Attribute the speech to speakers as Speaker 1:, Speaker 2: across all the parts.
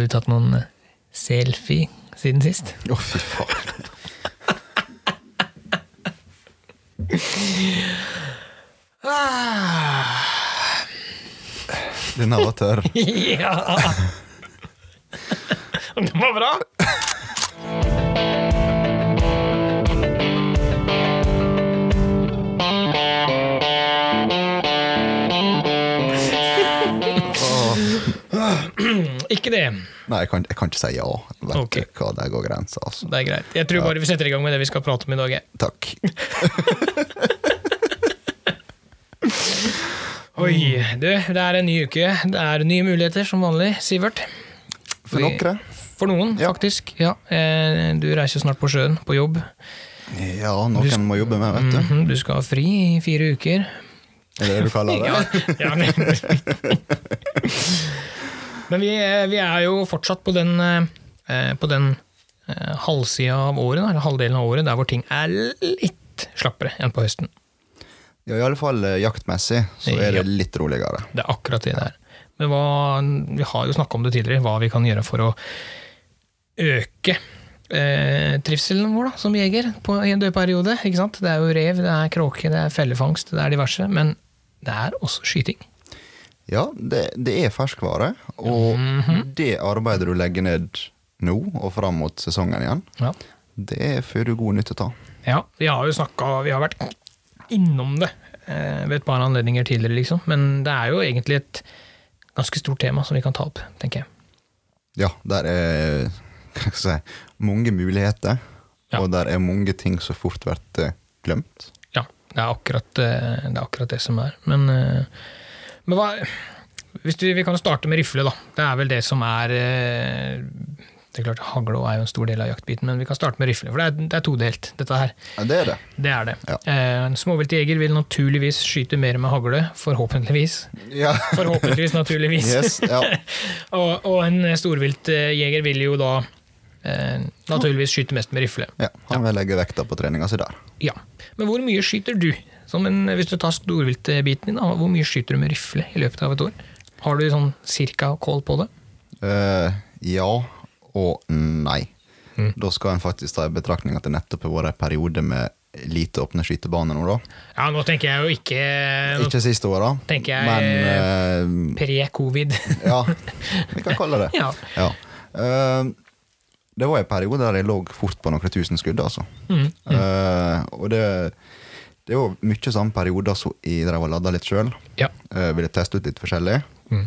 Speaker 1: du tatt noen eh, selfie siden sist?
Speaker 2: Å, fy faen.
Speaker 1: Ah!
Speaker 2: Den her var tørr.
Speaker 1: ja! Det var bra! Ikke det.
Speaker 2: Nei, jeg kan, jeg kan ikke si ja. Vet
Speaker 1: Ok.
Speaker 2: du hva, der går grensa, altså.
Speaker 1: Det er greit. Jeg tror bare vi setter i gang med det vi skal prate om i dag. jeg.
Speaker 2: Takk.
Speaker 1: Oi, du, det er en ny uke. Det er nye muligheter som vanlig, Sivert.
Speaker 2: For
Speaker 1: Vi-
Speaker 2: dere?
Speaker 1: For noen,
Speaker 2: Ja.
Speaker 1: faktisk. Ja. Eh, Du reiser snart på sjøen, på jobb.
Speaker 2: Ja, noen må jobbe med, vet du.
Speaker 1: Mhm, Du skal ha fri i fire uker.
Speaker 2: Er det det du kaller det?
Speaker 1: Ja, ja, men men vi, eh, vi er jo fortsatt på den, eh, på den eh, halvsida av året, da, eller halvdelen av året, der hvor ting er litt slappere enn på høsten.
Speaker 2: Ja, i alle fall eh, jaktmessig så er det litt roligere.
Speaker 1: Det er akkurat det det er. Men hva, vi har jo snakka om det tidligere, hva vi kan gjøre for å øke eh, trivselen vår da, som jeger på, i en dødperiode. Ikke sant? Det er jo rev, det er kråke, det er fellefangst, det er diverse. Men det er også skyting.
Speaker 2: Ja, det, det er ferskvare, og
Speaker 1: Mm. Mhm.
Speaker 2: det arbeidet du legger ned nå og fram mot sesongen igjen,
Speaker 1: Ja,
Speaker 2: det får du god nytte av.
Speaker 1: ja vi har jo snakka Vi har vært innom det eh, ved et par anledninger tidligere, liksom. Men det er jo egentlig et ganske stort tema som vi kan ta opp, tenker jeg.
Speaker 2: Ja, der er hva skal jeg si, mange muligheter,
Speaker 1: Ja.
Speaker 2: og der er mange ting som fort blir eh, glemt.
Speaker 1: Ja, det er akkurat, eh, det, er akkurat det som er. Men, eh, men hva hvis du, Vi kan jo starte med rifle, da. Det er vel det som er eh, Det er klart, Hagle også er jo en stor del av jaktbiten, men vi kan starte med rifle. For det er, det er todelt, dette her.
Speaker 2: Ja, det er det.
Speaker 1: Det er det.
Speaker 2: Ja.
Speaker 1: Eh, En småviltjeger vil naturligvis skyte mer med hagle. Forhåpentligvis.
Speaker 2: Ja.
Speaker 1: Forhåpentligvis, naturligvis.
Speaker 2: Yes, ja.
Speaker 1: og, og en storviltjeger vil jo da eh, naturligvis skyte mest med rifle.
Speaker 2: ja, han vil legge vekta på treninga si der.
Speaker 1: Ja. Men hvor mye skyter du? Som en, hvis du tar storviltbiten din, da, hvor mye skyter du med rifle i løpet av et år? Har du sånn cirka kål på det?
Speaker 2: Eh, ja og nei.
Speaker 1: Mm.
Speaker 2: Da skal en faktisk ta i betraktning at det nettopp har vært en periode med lite åpne skytebaner nå, da.
Speaker 1: Ja, nå tenker jeg jo ikke,
Speaker 2: Ikke siste åra,
Speaker 1: tenker jeg-
Speaker 2: men eh,
Speaker 1: pre-covid.
Speaker 2: Ja, vi kan kalle det
Speaker 1: Ja.
Speaker 2: Ja. Eh, det var en periode der jeg lå fort på noen tusen skudd, altså.
Speaker 1: Mm,
Speaker 2: Eh, og det, det var mye samme perioder som jeg drev og lada litt sjøl.
Speaker 1: ja.
Speaker 2: ville teste ut litt forskjellig.
Speaker 1: Mm.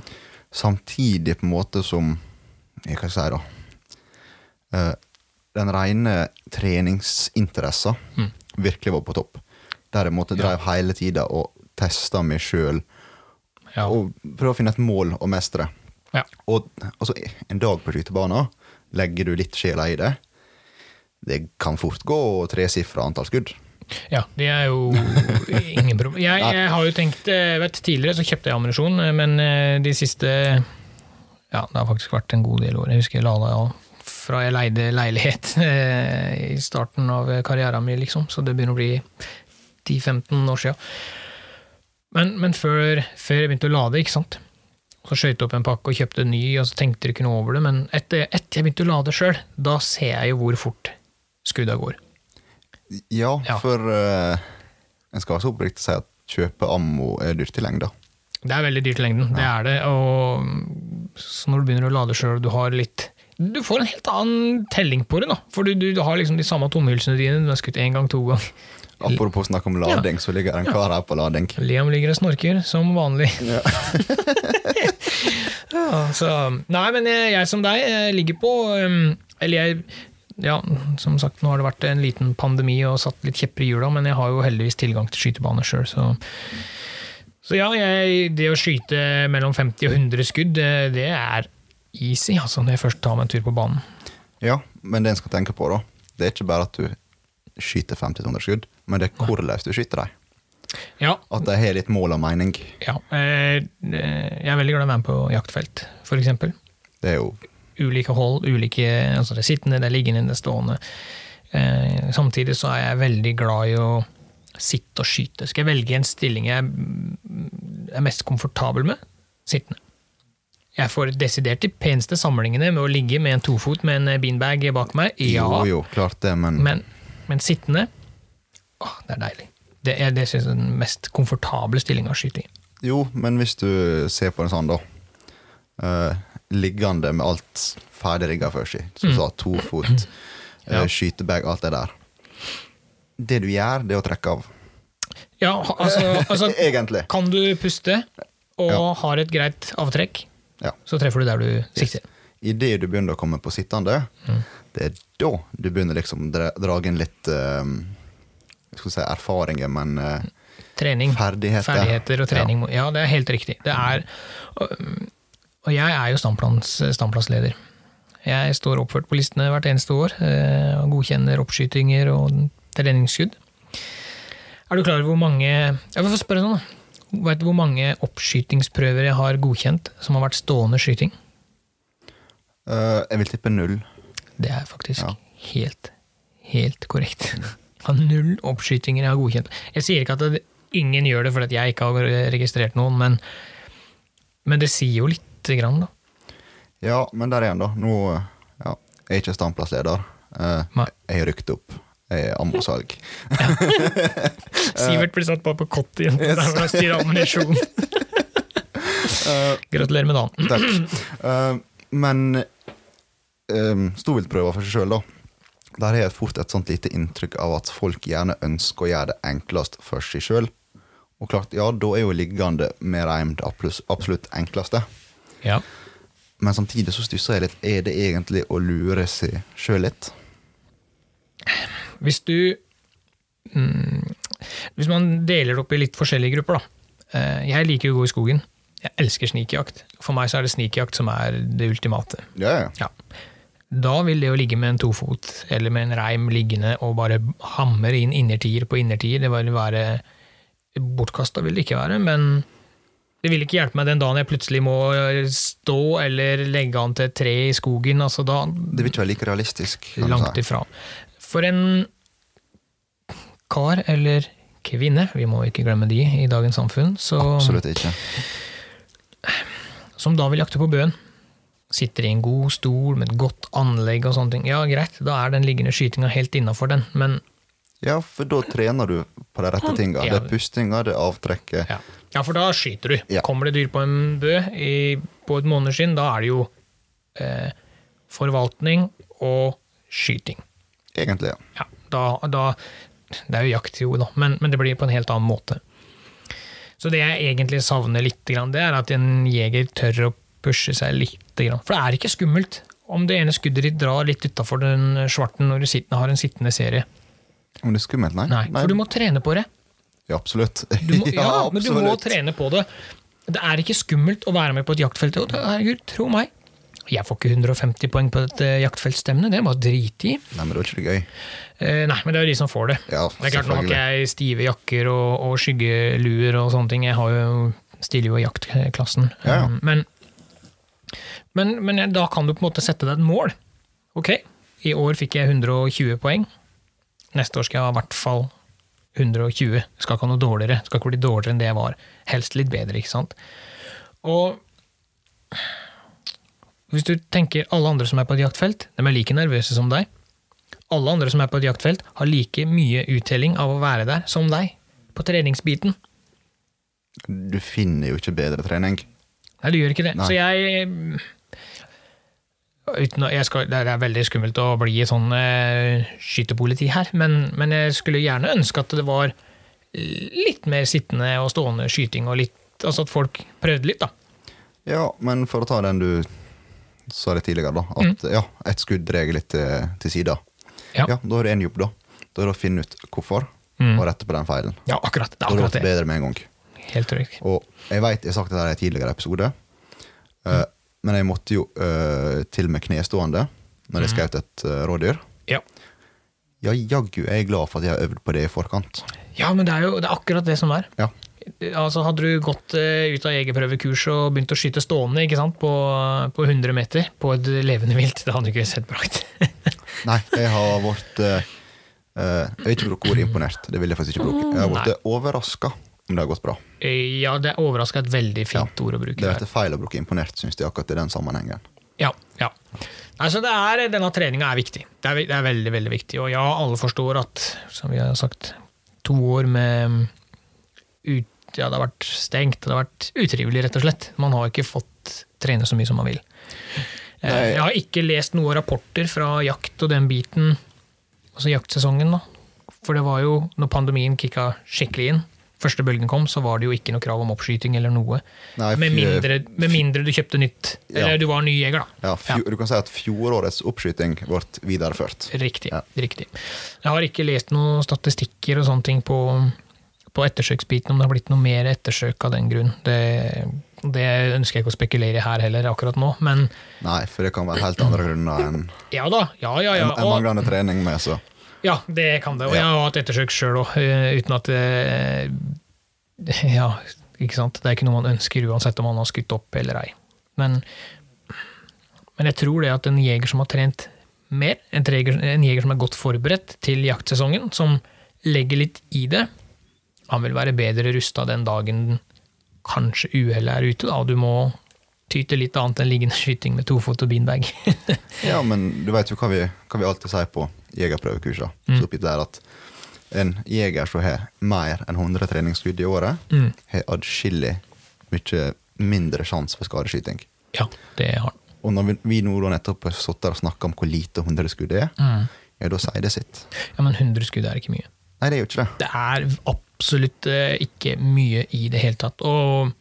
Speaker 2: Samtidig på en måte som jeg kan si da eh, Den rene treningsinteressen
Speaker 1: Mm.
Speaker 2: virkelig var på topp. Der jeg måtte drev hele tida og testa meg sjøl
Speaker 1: Ja.
Speaker 2: og prøve å finne et mål å mestre.
Speaker 1: ja.
Speaker 2: Og altså, en dag på skytebanen, legger du litt sjela i det, det kan fort gå tresifra antall skudd.
Speaker 1: Ja, det er jo ingen problem. Jeg, jeg har jo tenkt eh, vet, Tidligere så kjøpte jeg ammunisjon, eh, men eh, de siste Ja, det har faktisk vært en god del år. Jeg husker jeg lada ja, fra jeg leide leilighet eh, i starten av karrieren min, liksom. Så det begynner å bli 10-15 år siden. Men, men før, før jeg begynte å lade, ikke sant så skjøt jeg opp en pakke og kjøpte en ny, og så tenkte jeg ikke noe over det. Men etter, etter jeg begynte å lade sjøl, da ser jeg jo hvor fort skudda går.
Speaker 2: Ja,
Speaker 1: Ja.
Speaker 2: for eh, en skal så oppriktig si at kjøpe ammo er dyrt i lengda.
Speaker 1: Det er veldig dyrt i lengden, det er det. Og så når du begynner å lade sjøl, du har litt Du får en helt annen telling på det, da. For du, du, du har liksom de samme tomhylsene dine, du har skutt én gang, to gang.
Speaker 2: Apropos snakk om lading, så ligger det en kar her på lading.
Speaker 1: Liam ligger og snorker, som vanlig. Ja. så, nei, men jeg, jeg som deg jeg ligger på um, Eller jeg Ja, som sagt, nå har det vært en liten pandemi og satt litt kjepper i hjula, men jeg har jo heldigvis tilgang til skytebane sjøl, så Så ja, jeg, det å skyte mellom 50 og 100 skudd, det, det er easy, altså, når jeg først tar meg en tur på banen.
Speaker 2: Ja, men det en skal tenke på, da, det er ikke bare at du skyter 50-100 skudd, men det er hvordan du skyter dem.
Speaker 1: Ja,
Speaker 2: At de har litt mål og mening.
Speaker 1: ja. eh, Jeg er veldig glad i å være med på jaktfelt, for eksempel.
Speaker 2: Det er jo
Speaker 1: ulike hold, ulike, altså det er sittende, det er liggende, det er stående. Eh, samtidig så er jeg veldig glad i å sitte og skyte. Skal jeg velge en stilling jeg mm, er mest komfortabel med? Sittende. Jeg får desidert de peneste samlingene med å ligge med en tofot med en eh, beanbag bak meg. Ja,
Speaker 2: Jo, jo, klart det, men,
Speaker 1: Men, men sittende åh, Det er deilig. Det er det synes jeg er den mest komfortable stillinga å skyte i.
Speaker 2: Jo, men hvis du ser på det sånn, da. eh, liggende med alt ferdigrigga for seg,
Speaker 1: Mm.
Speaker 2: som sa to fot, eh, skytebag, alt det der. Det du gjør, det er å trekke av.
Speaker 1: Ja, ha- altså, altså
Speaker 2: Egentlig.
Speaker 1: Kan du puste og
Speaker 2: Ja.
Speaker 1: har et greit avtrekk,
Speaker 2: Ja.
Speaker 1: så treffer du der du sikter.
Speaker 2: Idet du begynner å komme på sittende,
Speaker 1: Mm.
Speaker 2: det er da du begynner liksom dra, dra inn litt eh, jeg skulle si erfaringer, men eh,
Speaker 1: Trening.
Speaker 2: Ferdigheter.
Speaker 1: Ferdigheter og trening. må- Ja, det er helt riktig. Det er, og- og jeg er jo standplans, standplassleder. Jeg står oppført på listene hvert eneste år eh, og godkjenner oppskytinger og treningsskudd. Er du klar over hvor mange Jeg får spørre sånn, da. Vet du hvor mange oppskytingsprøver jeg har godkjent som har vært stående skyting?
Speaker 2: eh, Jeg vil tippe null.
Speaker 1: Det er faktisk
Speaker 2: Ja.
Speaker 1: helt, helt korrekt. Av null oppskytinger jeg har godkjent. Jeg sier ikke at det, ingen gjør det fordi at jeg ikke har registrert noen, men, men det sier jo lite grann, da.
Speaker 2: Ja, men der igjen, da. Nå eh, ja, jeg er ikke standplassleder. Eh,
Speaker 1: Nei.
Speaker 2: jeg har rykket opp. Jeg er ammosalg.
Speaker 1: Sivert ble satt bare på kott igjen der hvor han styrer ammunisjon. Gratulerer med dagen.
Speaker 2: Takk. Eh, men um, storviltprøver for seg sjøl, da. Der har jeg fort et sånt lite inntrykk av at folk gjerne ønsker å gjøre det enklest for seg sjøl. Og klart, ja, da er jo liggende med reim det absolutt- absolutt enkleste.
Speaker 1: Ja.
Speaker 2: Men samtidig så stusser jeg litt. Er det egentlig å lure seg sjøl litt?
Speaker 1: Hvis du mm, Hvis man deler det opp i litt forskjellige grupper, da. Eh, Jeg liker jo å gå i skogen. Jeg elsker snikjakt. For meg så er det snikjakt som er det ultimate.
Speaker 2: Ja, ja.
Speaker 1: Ja. Da vil det å ligge med en tofot eller med en reim liggende og bare hamre inn innertier på innertier, det vil være bortkasta, vil det ikke være, men det vil ikke hjelpe meg den dagen jeg plutselig må stå eller legge an til et tre i skogen, altså da
Speaker 2: Det vil ikke være like realistisk. kan du
Speaker 1: langt
Speaker 2: si.
Speaker 1: ifra. For en kar eller kvinne, vi må ikke glemme de i dagens samfunn, så
Speaker 2: Absolutt ikke.
Speaker 1: som da vil jakte på bøen. Sitter i en god stol med et godt anlegg og sånne ting. Ja, greit, da er den liggende skytinga helt innafor den, men
Speaker 2: Ja, for da trener du på de rette tinga. Det er pustinga, det er avtrekket.
Speaker 1: ja. ja, for da skyter du.
Speaker 2: Ja.
Speaker 1: Kommer det dyr på en bø i, på et måneskinn, da er det jo eh, forvaltning og skyting.
Speaker 2: Egentlig, ja.
Speaker 1: Ja, da, da Det er jo jakt, jo, da, men, men det blir på en helt annen måte. Så det jeg egentlig savner litt, grann, det er at en jeger tør å pushe seg litt. Grann. For det er ikke skummelt om det ene skuddet ditt drar litt utafor den svarten når du sitter, har en sittende serie.
Speaker 2: Men det er skummelt, nei.
Speaker 1: Nei, for du må trene på det.
Speaker 2: Ja, absolutt.
Speaker 1: Du må, ja, men du må trene på det. Det er ikke skummelt å være med på et jaktfelt. Og det- herregud, tro meg. Jeg får ikke 150 poeng på et eh, jaktfeltstevne, det er bare å drite i.
Speaker 2: Nei, men det er ikke det gøy.
Speaker 1: Eh, nei, men det er jo de som får det.
Speaker 2: Ja,
Speaker 1: det er klart, Nå har ikke
Speaker 2: selvfølgelig.
Speaker 1: jeg stive jakker og, og skyggeluer og sånne ting. Jeg har jo, stiller jo i jaktklassen.
Speaker 2: Ja, ja.
Speaker 1: Um, Men, men, men da kan du på en måte sette deg et mål. Ok, i år fikk jeg 120 poeng. Neste år skal jeg ha i hvert fall 120. Skal ikke ha noe dårligere. Skal ikke bli dårligere enn det jeg var. Helst litt bedre, ikke sant. Og hvis du tenker alle andre som er på et jaktfelt, de er like nervøse som deg. Alle andre som er på et jaktfelt, har like mye uttelling av å være der som deg. På treningsbiten.
Speaker 2: Du finner jo ikke bedre trening.
Speaker 1: Nei, du gjør ikke det.
Speaker 2: Nei.
Speaker 1: Så jeg eh, uten, å- jeg skal, Det er veldig skummelt å bli sånn eh, skytepoliti her, men, men jeg skulle gjerne ønske at det var eh, litt mer sittende og stående skyting, og litt, altså at folk prøvde litt, da.
Speaker 2: Ja, men for å ta den du sa litt tidligere, da. At ja, ett skudd drar litt til, til sida.
Speaker 1: Mm. Ja.
Speaker 2: ja, da har du én jobb, da. Da er det å finne ut hvorfor,
Speaker 1: Mm.
Speaker 2: og rette på den feilen.
Speaker 1: Ja, akkurat. Det
Speaker 2: Da
Speaker 1: er
Speaker 2: har du
Speaker 1: akkurat
Speaker 2: vært
Speaker 1: det.
Speaker 2: bedre med en gang.
Speaker 1: Helt riktig.
Speaker 2: Og jeg veit jeg har sagt det her i en tidligere episode,
Speaker 1: Mm.
Speaker 2: eh, men jeg måtte jo eh, til med knestående når
Speaker 1: Mm.
Speaker 2: jeg skjøt et eh, rådyr.
Speaker 1: Ja.
Speaker 2: Ja, jaggu er jeg glad for at jeg har øvd på det i forkant.
Speaker 1: ja, men det er jo det er akkurat det som er.
Speaker 2: Ja,
Speaker 1: Altså, hadde du gått eh, ut av jegerprøvekurs og begynt å skyte stående ikke sant? På, på 100 meter på et levende vilt, det hadde du ikke sett bra ut.
Speaker 2: Nei, jeg har vært eh, eh, Jeg vil ikke bruke ordet imponert. Det vil jeg faktisk ikke bruke. Jeg har blitt overraska om det har gått bra.
Speaker 1: Eh, Ja, det er overraska et veldig fint ord å bruke.
Speaker 2: Det er
Speaker 1: der.
Speaker 2: etter feil å bruke imponert, syns de, akkurat i den sammenhengen.
Speaker 1: Ja, ja. Altså det er, denne treninga er viktig. Det er, vi- det er veldig veldig viktig. Og ja, alle forstår at, som vi har sagt, to år med ut, ja, det har vært stengt. Det har vært utrivelig, rett og slett. Man har ikke fått trene så mye som man vil. Eh,
Speaker 2: Nei.
Speaker 1: Jeg har ikke lest noen rapporter fra jakt og den biten, altså jaktsesongen, da. For det var jo, når pandemien kicka skikkelig inn, første bølgen kom, så var det jo ikke noe krav om oppskyting eller noe.
Speaker 2: Nei,
Speaker 1: Med
Speaker 2: fy-
Speaker 1: mindre, med mindre du kjøpte nytt.
Speaker 2: Ja.
Speaker 1: Eller du var ny jeger, da.
Speaker 2: Ja, fjo, Du kan si at fjorårets oppskyting ble videreført.
Speaker 1: Riktig.
Speaker 2: Ja.
Speaker 1: riktig. Jeg har ikke lest noen statistikker og sånne ting på, på ettersøksbiten, om det har blitt noe mer ettersøk av den grunn. Det, det ønsker jeg ikke å spekulere i her heller akkurat nå, men
Speaker 2: Nei, for det kan være helt andre grunner enn
Speaker 1: ja da. Ja, ja, Ah, ja.
Speaker 2: enn- enn
Speaker 1: Og,
Speaker 2: manglende trening med, så
Speaker 1: ja det kan det. Og
Speaker 2: Ja.
Speaker 1: jeg har hatt ettersøk sjøl òg, uten at eh, Ja, ikke sant. Det er ikke noe man ønsker uansett om man har skutt opp eller ei. Men, men jeg tror det at en jeger som har trent mer, en, treger, en jeger som er godt forberedt til jaktsesongen, som legger litt i det, han vil være bedre rusta den dagen kanskje uhellet er ute, da, og du må ty til litt annet enn liggende skyting med tofot og beanbag.
Speaker 2: Ja, men du vet jo hva vi, hva vi alltid sier på jegerprøvekursene.
Speaker 1: Mm.
Speaker 2: Så oppi der at en jeger som har mer enn 100 treningsskudd i året, har adskillig mye mindre sjanse for skadeskyting.
Speaker 1: ja, det har han.
Speaker 2: Og når vi, vi nå da nettopp har stått der og snakka om hvor lite 100 skudd er,
Speaker 1: Mm.
Speaker 2: ja, da sier det sitt.
Speaker 1: Ja, men 100 skudd er ikke mye.
Speaker 2: Nei, det er jo ikke det.
Speaker 1: det er absolutt eh, ikke mye i det hele tatt. Og,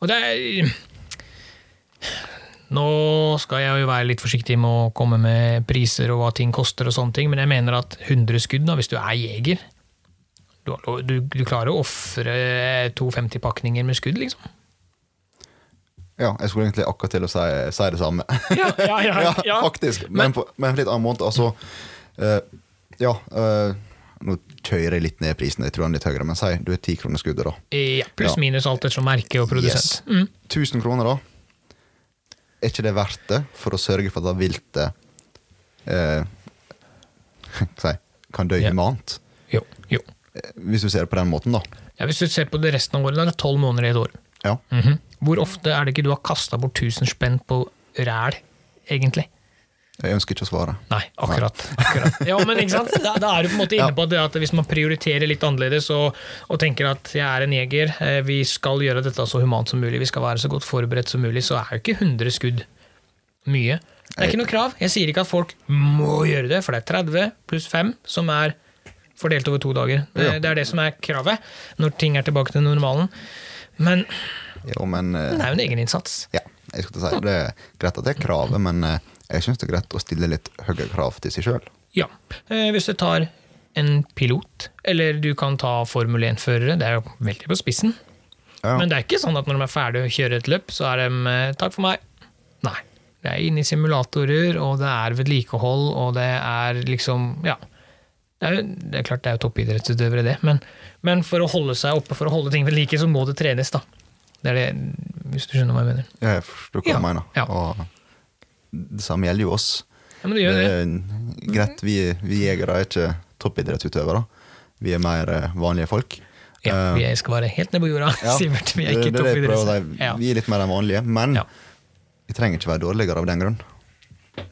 Speaker 1: og det er Nå skal jeg jo være litt forsiktig med å komme med priser og hva ting koster, og sånne ting, men jeg mener at 100 skudd, da, hvis du er jeger Du, har lov- du, du klarer å ofre to 50-pakninger med skudd, liksom.
Speaker 2: Ja, jeg skulle egentlig akkurat til å si, si det samme.
Speaker 1: Ja, ja, ja,
Speaker 2: ja,
Speaker 1: ja.
Speaker 2: faktisk. Men, på, men på litt annen måte. Altså, eh, ja eh, Nå kjører jeg litt ned prisen, jeg tror den er litt høyere, men si du er ti kroner skuddet, da.
Speaker 1: Ja, Pluss
Speaker 2: Ja.
Speaker 1: minus alt etter som merke og produsent.
Speaker 2: Yes.
Speaker 1: Mm.
Speaker 2: 1000 kroner, da. Er ikke det verdt det for å sørge for at det viltet eh, hva skal jeg si, kan dø
Speaker 1: Ja.
Speaker 2: humant?
Speaker 1: Jo, jo.
Speaker 2: Eh, Hvis du ser det på den måten, da.
Speaker 1: Ja, hvis du ser på det resten av året, da er det tolv måneder i et år.
Speaker 2: Ja.
Speaker 1: Mhm. Hvor ofte er det ikke du har kasta bort 1000 spenn på ræl, egentlig?
Speaker 2: Jeg ønsker ikke å svare.
Speaker 1: Nei, akkurat. akkurat. Ja, men ikke sant? Da, da er du på en måte inne
Speaker 2: Ja.
Speaker 1: på det at hvis man prioriterer litt annerledes og, og tenker at jeg er en jeger, eh, vi skal gjøre dette så humant som mulig, vi skal være så godt forberedt som mulig, så er jo ikke 100 skudd mye. Det er ikke noe krav. Jeg sier ikke at folk må gjøre det, for det er 30 pluss 5 som er fordelt over to dager. Det,
Speaker 2: Ja.
Speaker 1: det er det som er kravet når ting er tilbake til normalen. Men
Speaker 2: Jo, men eh,
Speaker 1: det er jo en egeninnsats.
Speaker 2: Ja, jeg skulle til å si det er greit at det er kravet, men eh, jeg syns det er greit å stille litt høyere krav til seg sjøl.
Speaker 1: Ja. Eh, Hvis du tar en pilot, eller du kan ta Formel 1-førere, det er jo veldig på spissen.
Speaker 2: Ja.
Speaker 1: Men det er ikke sånn at når de er ferdig å kjøre et løp, så er de eh, 'takk for meg'. Nei. Det er inne i simulatorer, og det er vedlikehold, og det er liksom Ja. Det er, jo, det er klart det er jo toppidrettsutøvere, det, men, men for å holde seg oppe, for å holde ting ved like, så må det trenes, da. Det er det, hvis du skjønner hva jeg mener.
Speaker 2: Jeg forstår hva
Speaker 1: Ja,
Speaker 2: du mener.
Speaker 1: ja.
Speaker 2: Og det samme gjelder jo oss.
Speaker 1: Ja, men det
Speaker 2: Det
Speaker 1: gjør det.
Speaker 2: er greit, vi, vi jegere er ikke toppidrettsutøvere. Vi er mer eh, vanlige folk.
Speaker 1: Ja,
Speaker 2: Eh,
Speaker 1: vi skal være helt ned på jorda,
Speaker 2: ja,
Speaker 1: Sivert. Vi
Speaker 2: det-
Speaker 1: er ikke
Speaker 2: det er det jeg prøver å si.
Speaker 1: toppidrettsutøvere. Ja.
Speaker 2: Vi er litt mer enn vanlige, men
Speaker 1: Ja.
Speaker 2: vi trenger ikke være dårligere av den grunn.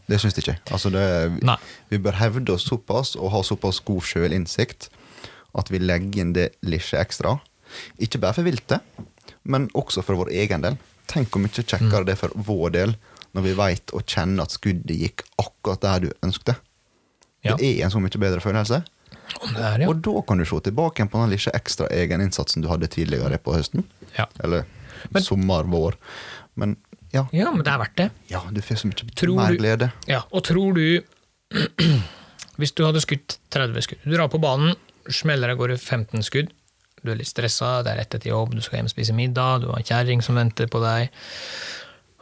Speaker 2: Det syns jeg ikke. Altså det,
Speaker 1: Nei.
Speaker 2: vi bør hevde oss såpass og ha såpass god sjølinnsikt at vi legger inn det lille ekstra. Ikke bare for viltet, men også for vår egen del. Tenk hvor mye kjekkere det er for vår del når vi veit og kjenner at skuddet gikk akkurat der du ønskte.
Speaker 1: Ja.
Speaker 2: Det er en så mye bedre følelse.
Speaker 1: Om det er, ja.
Speaker 2: Og da kan du se tilbake igjen på den lille ekstra egeninnsatsen du hadde tidligere på høsten.
Speaker 1: ja.
Speaker 2: Eller
Speaker 1: Men-
Speaker 2: sommer, vår. Men ja,
Speaker 1: Ja, men det er verdt det.
Speaker 2: ja du får så mye
Speaker 1: Tror
Speaker 2: mer
Speaker 1: du-
Speaker 2: glede.
Speaker 1: Ja, og tror du Hvis du hadde skutt 30 skudd Du drar på banen, smeller av gårde 15 skudd. Du er litt stressa, det er rett etter jobb, du skal hjem og spise middag, du har en kjerring som venter på deg,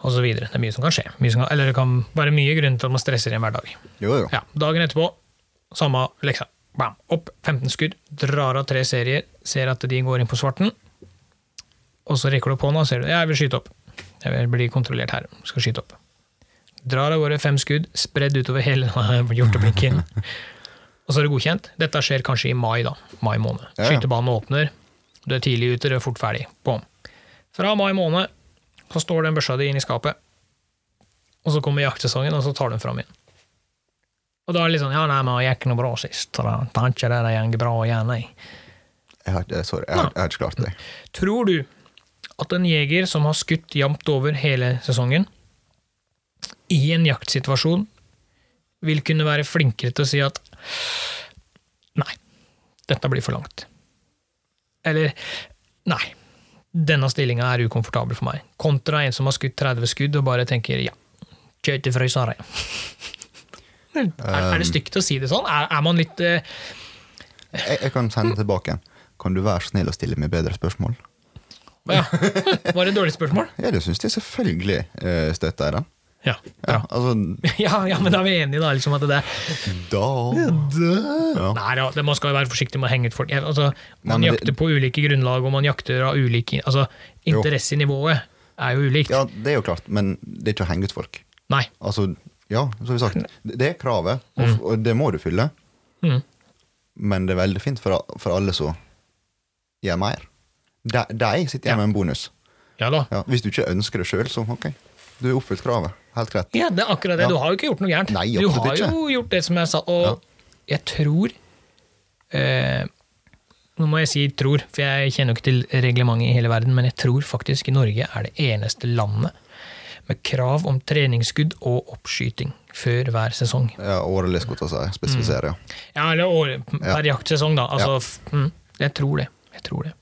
Speaker 1: osv. Det er mye som kan skje. Mye som kan, eller det kan være mye grunn til at man stresser i en hverdag.
Speaker 2: Jo, jo.
Speaker 1: Ja, dagen etterpå, samme leksa. Bam, opp, 15 skudd, drar av tre serier, ser at de går inn på svarten. Og så rekker du opp hånda og ser du, jeg vil skyte opp. Jeg vil bli kontrollert her, skal skyte opp. Drar av gårde fem skudd, spredd utover hele hjorteblinken. og så er det godkjent. Dette skjer kanskje i mai, da. Mai måned.
Speaker 2: Ja, ja.
Speaker 1: Skytebanen åpner. Du er tidlig ute, du er fort ferdig. Bom. Fra mai måned så står den børsa di inn i skapet, og så kommer jaktsesongen, og så tar du den fram igjen. Og da er det litt sånn Ja, nei, men jeg gikk noe bra sist. så da tar ikke det der gikk bra igjen, nei.
Speaker 2: Jeg har, eh, sorry, jeg har, jeg har ikke klart det.
Speaker 1: Tror du at en jeger som har skutt jevnt over hele sesongen, i en jaktsituasjon vil kunne være flinkere til å si at nei, dette blir for langt. Eller nei, denne stillinga er ukomfortabel for meg. Kontra en som har skutt 30 skudd og bare tenker ja, kjør til fryseren. er, er det stygt å si det sånn? Er, er man litt eh,
Speaker 2: Jeg, jeg kan sende tilbake en. Kan du være snill og stille meg bedre spørsmål?
Speaker 1: ja. Var det et dårlig spørsmål?
Speaker 2: Ja, det syns jeg selvfølgelig eh, støtter jeg den.
Speaker 1: Ja,
Speaker 2: Ja,
Speaker 1: bra.
Speaker 2: altså,
Speaker 1: Ja, ja, men da er vi enige, da. Liksom at det er
Speaker 2: da ja.
Speaker 1: Nei, ja, det- man skal jo være forsiktig med å henge ut folk. Jeg- Altså, man
Speaker 2: men det-
Speaker 1: jakter på ulike grunnlag, og man jakter av ulike altså,
Speaker 2: Jo.
Speaker 1: Interessenivået er jo ulikt.
Speaker 2: ja, det er jo klart, men det er ikke å henge ut folk.
Speaker 1: Nei.
Speaker 2: Altså, ja, som vi sagt, det det er kravet, og, f- og det må du fylle.
Speaker 1: Mm.
Speaker 2: Men det er veldig fint for, a- for alle som gjør mer. De, de sitter igjen med en bonus.
Speaker 1: Ja da.
Speaker 2: Ja, hvis du ikke ønsker det sjøl, så ok. Du har oppfylt kravet. Helt greit.
Speaker 1: Ja, det er akkurat
Speaker 2: Ja.
Speaker 1: det. Du har jo ikke gjort noe gærent.
Speaker 2: Nei,
Speaker 1: du
Speaker 2: absolutt
Speaker 1: har jo gjort det som jeg sa, og jeg tror eh, Nå må jeg si tror, for jeg kjenner jo ikke til reglementet i hele verden, men jeg tror faktisk Norge er det eneste landet med krav om treningsskudd og oppskyting før hver sesong.
Speaker 2: Ja, Årlig, skulle jeg ta seg.
Speaker 1: Mm.
Speaker 2: Spesifisere, ja.
Speaker 1: Ja, eller år, per jaktsesong, da. Altså, f- mm, jeg tror det. Jeg tror det.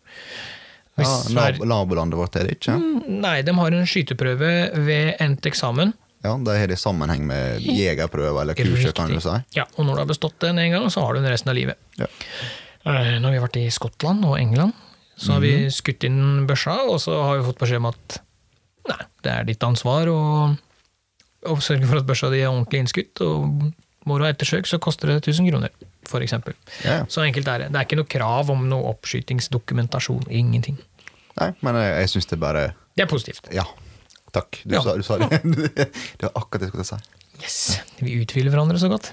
Speaker 1: Hvis
Speaker 2: ja
Speaker 1: Sverige- Mm.
Speaker 2: nab nabolandet vårt er det ikke.
Speaker 1: Nei, de har en skyteprøve ved endt eksamen.
Speaker 2: Ja, De har det i sammenheng med jegerprøve eller kurset, kan du si.
Speaker 1: Ja, og når du har bestått den en gang, så har du den resten av livet.
Speaker 2: Ja.
Speaker 1: Eh, Når vi har vært i Skottland og England, så har vi skutt inn børsa, og så har vi fått beskjed om at nei, det er ditt ansvar å, å sørge for at børsa di er ordentlig innskutt, og må du ha ettersøk, så koster det 1000 kroner, for eksempel.
Speaker 2: Ja, ja.
Speaker 1: Så enkelt er det. Det er ikke noe krav om noe oppskytingsdokumentasjon. Ingenting.
Speaker 2: Nei, men jeg, jeg syns det bare
Speaker 1: Det er positivt.
Speaker 2: Ja. Takk. Du,
Speaker 1: Ja.
Speaker 2: sa, du sa det. det var akkurat det jeg skulle til å si.
Speaker 1: Yes. Vi utfyller hverandre så godt.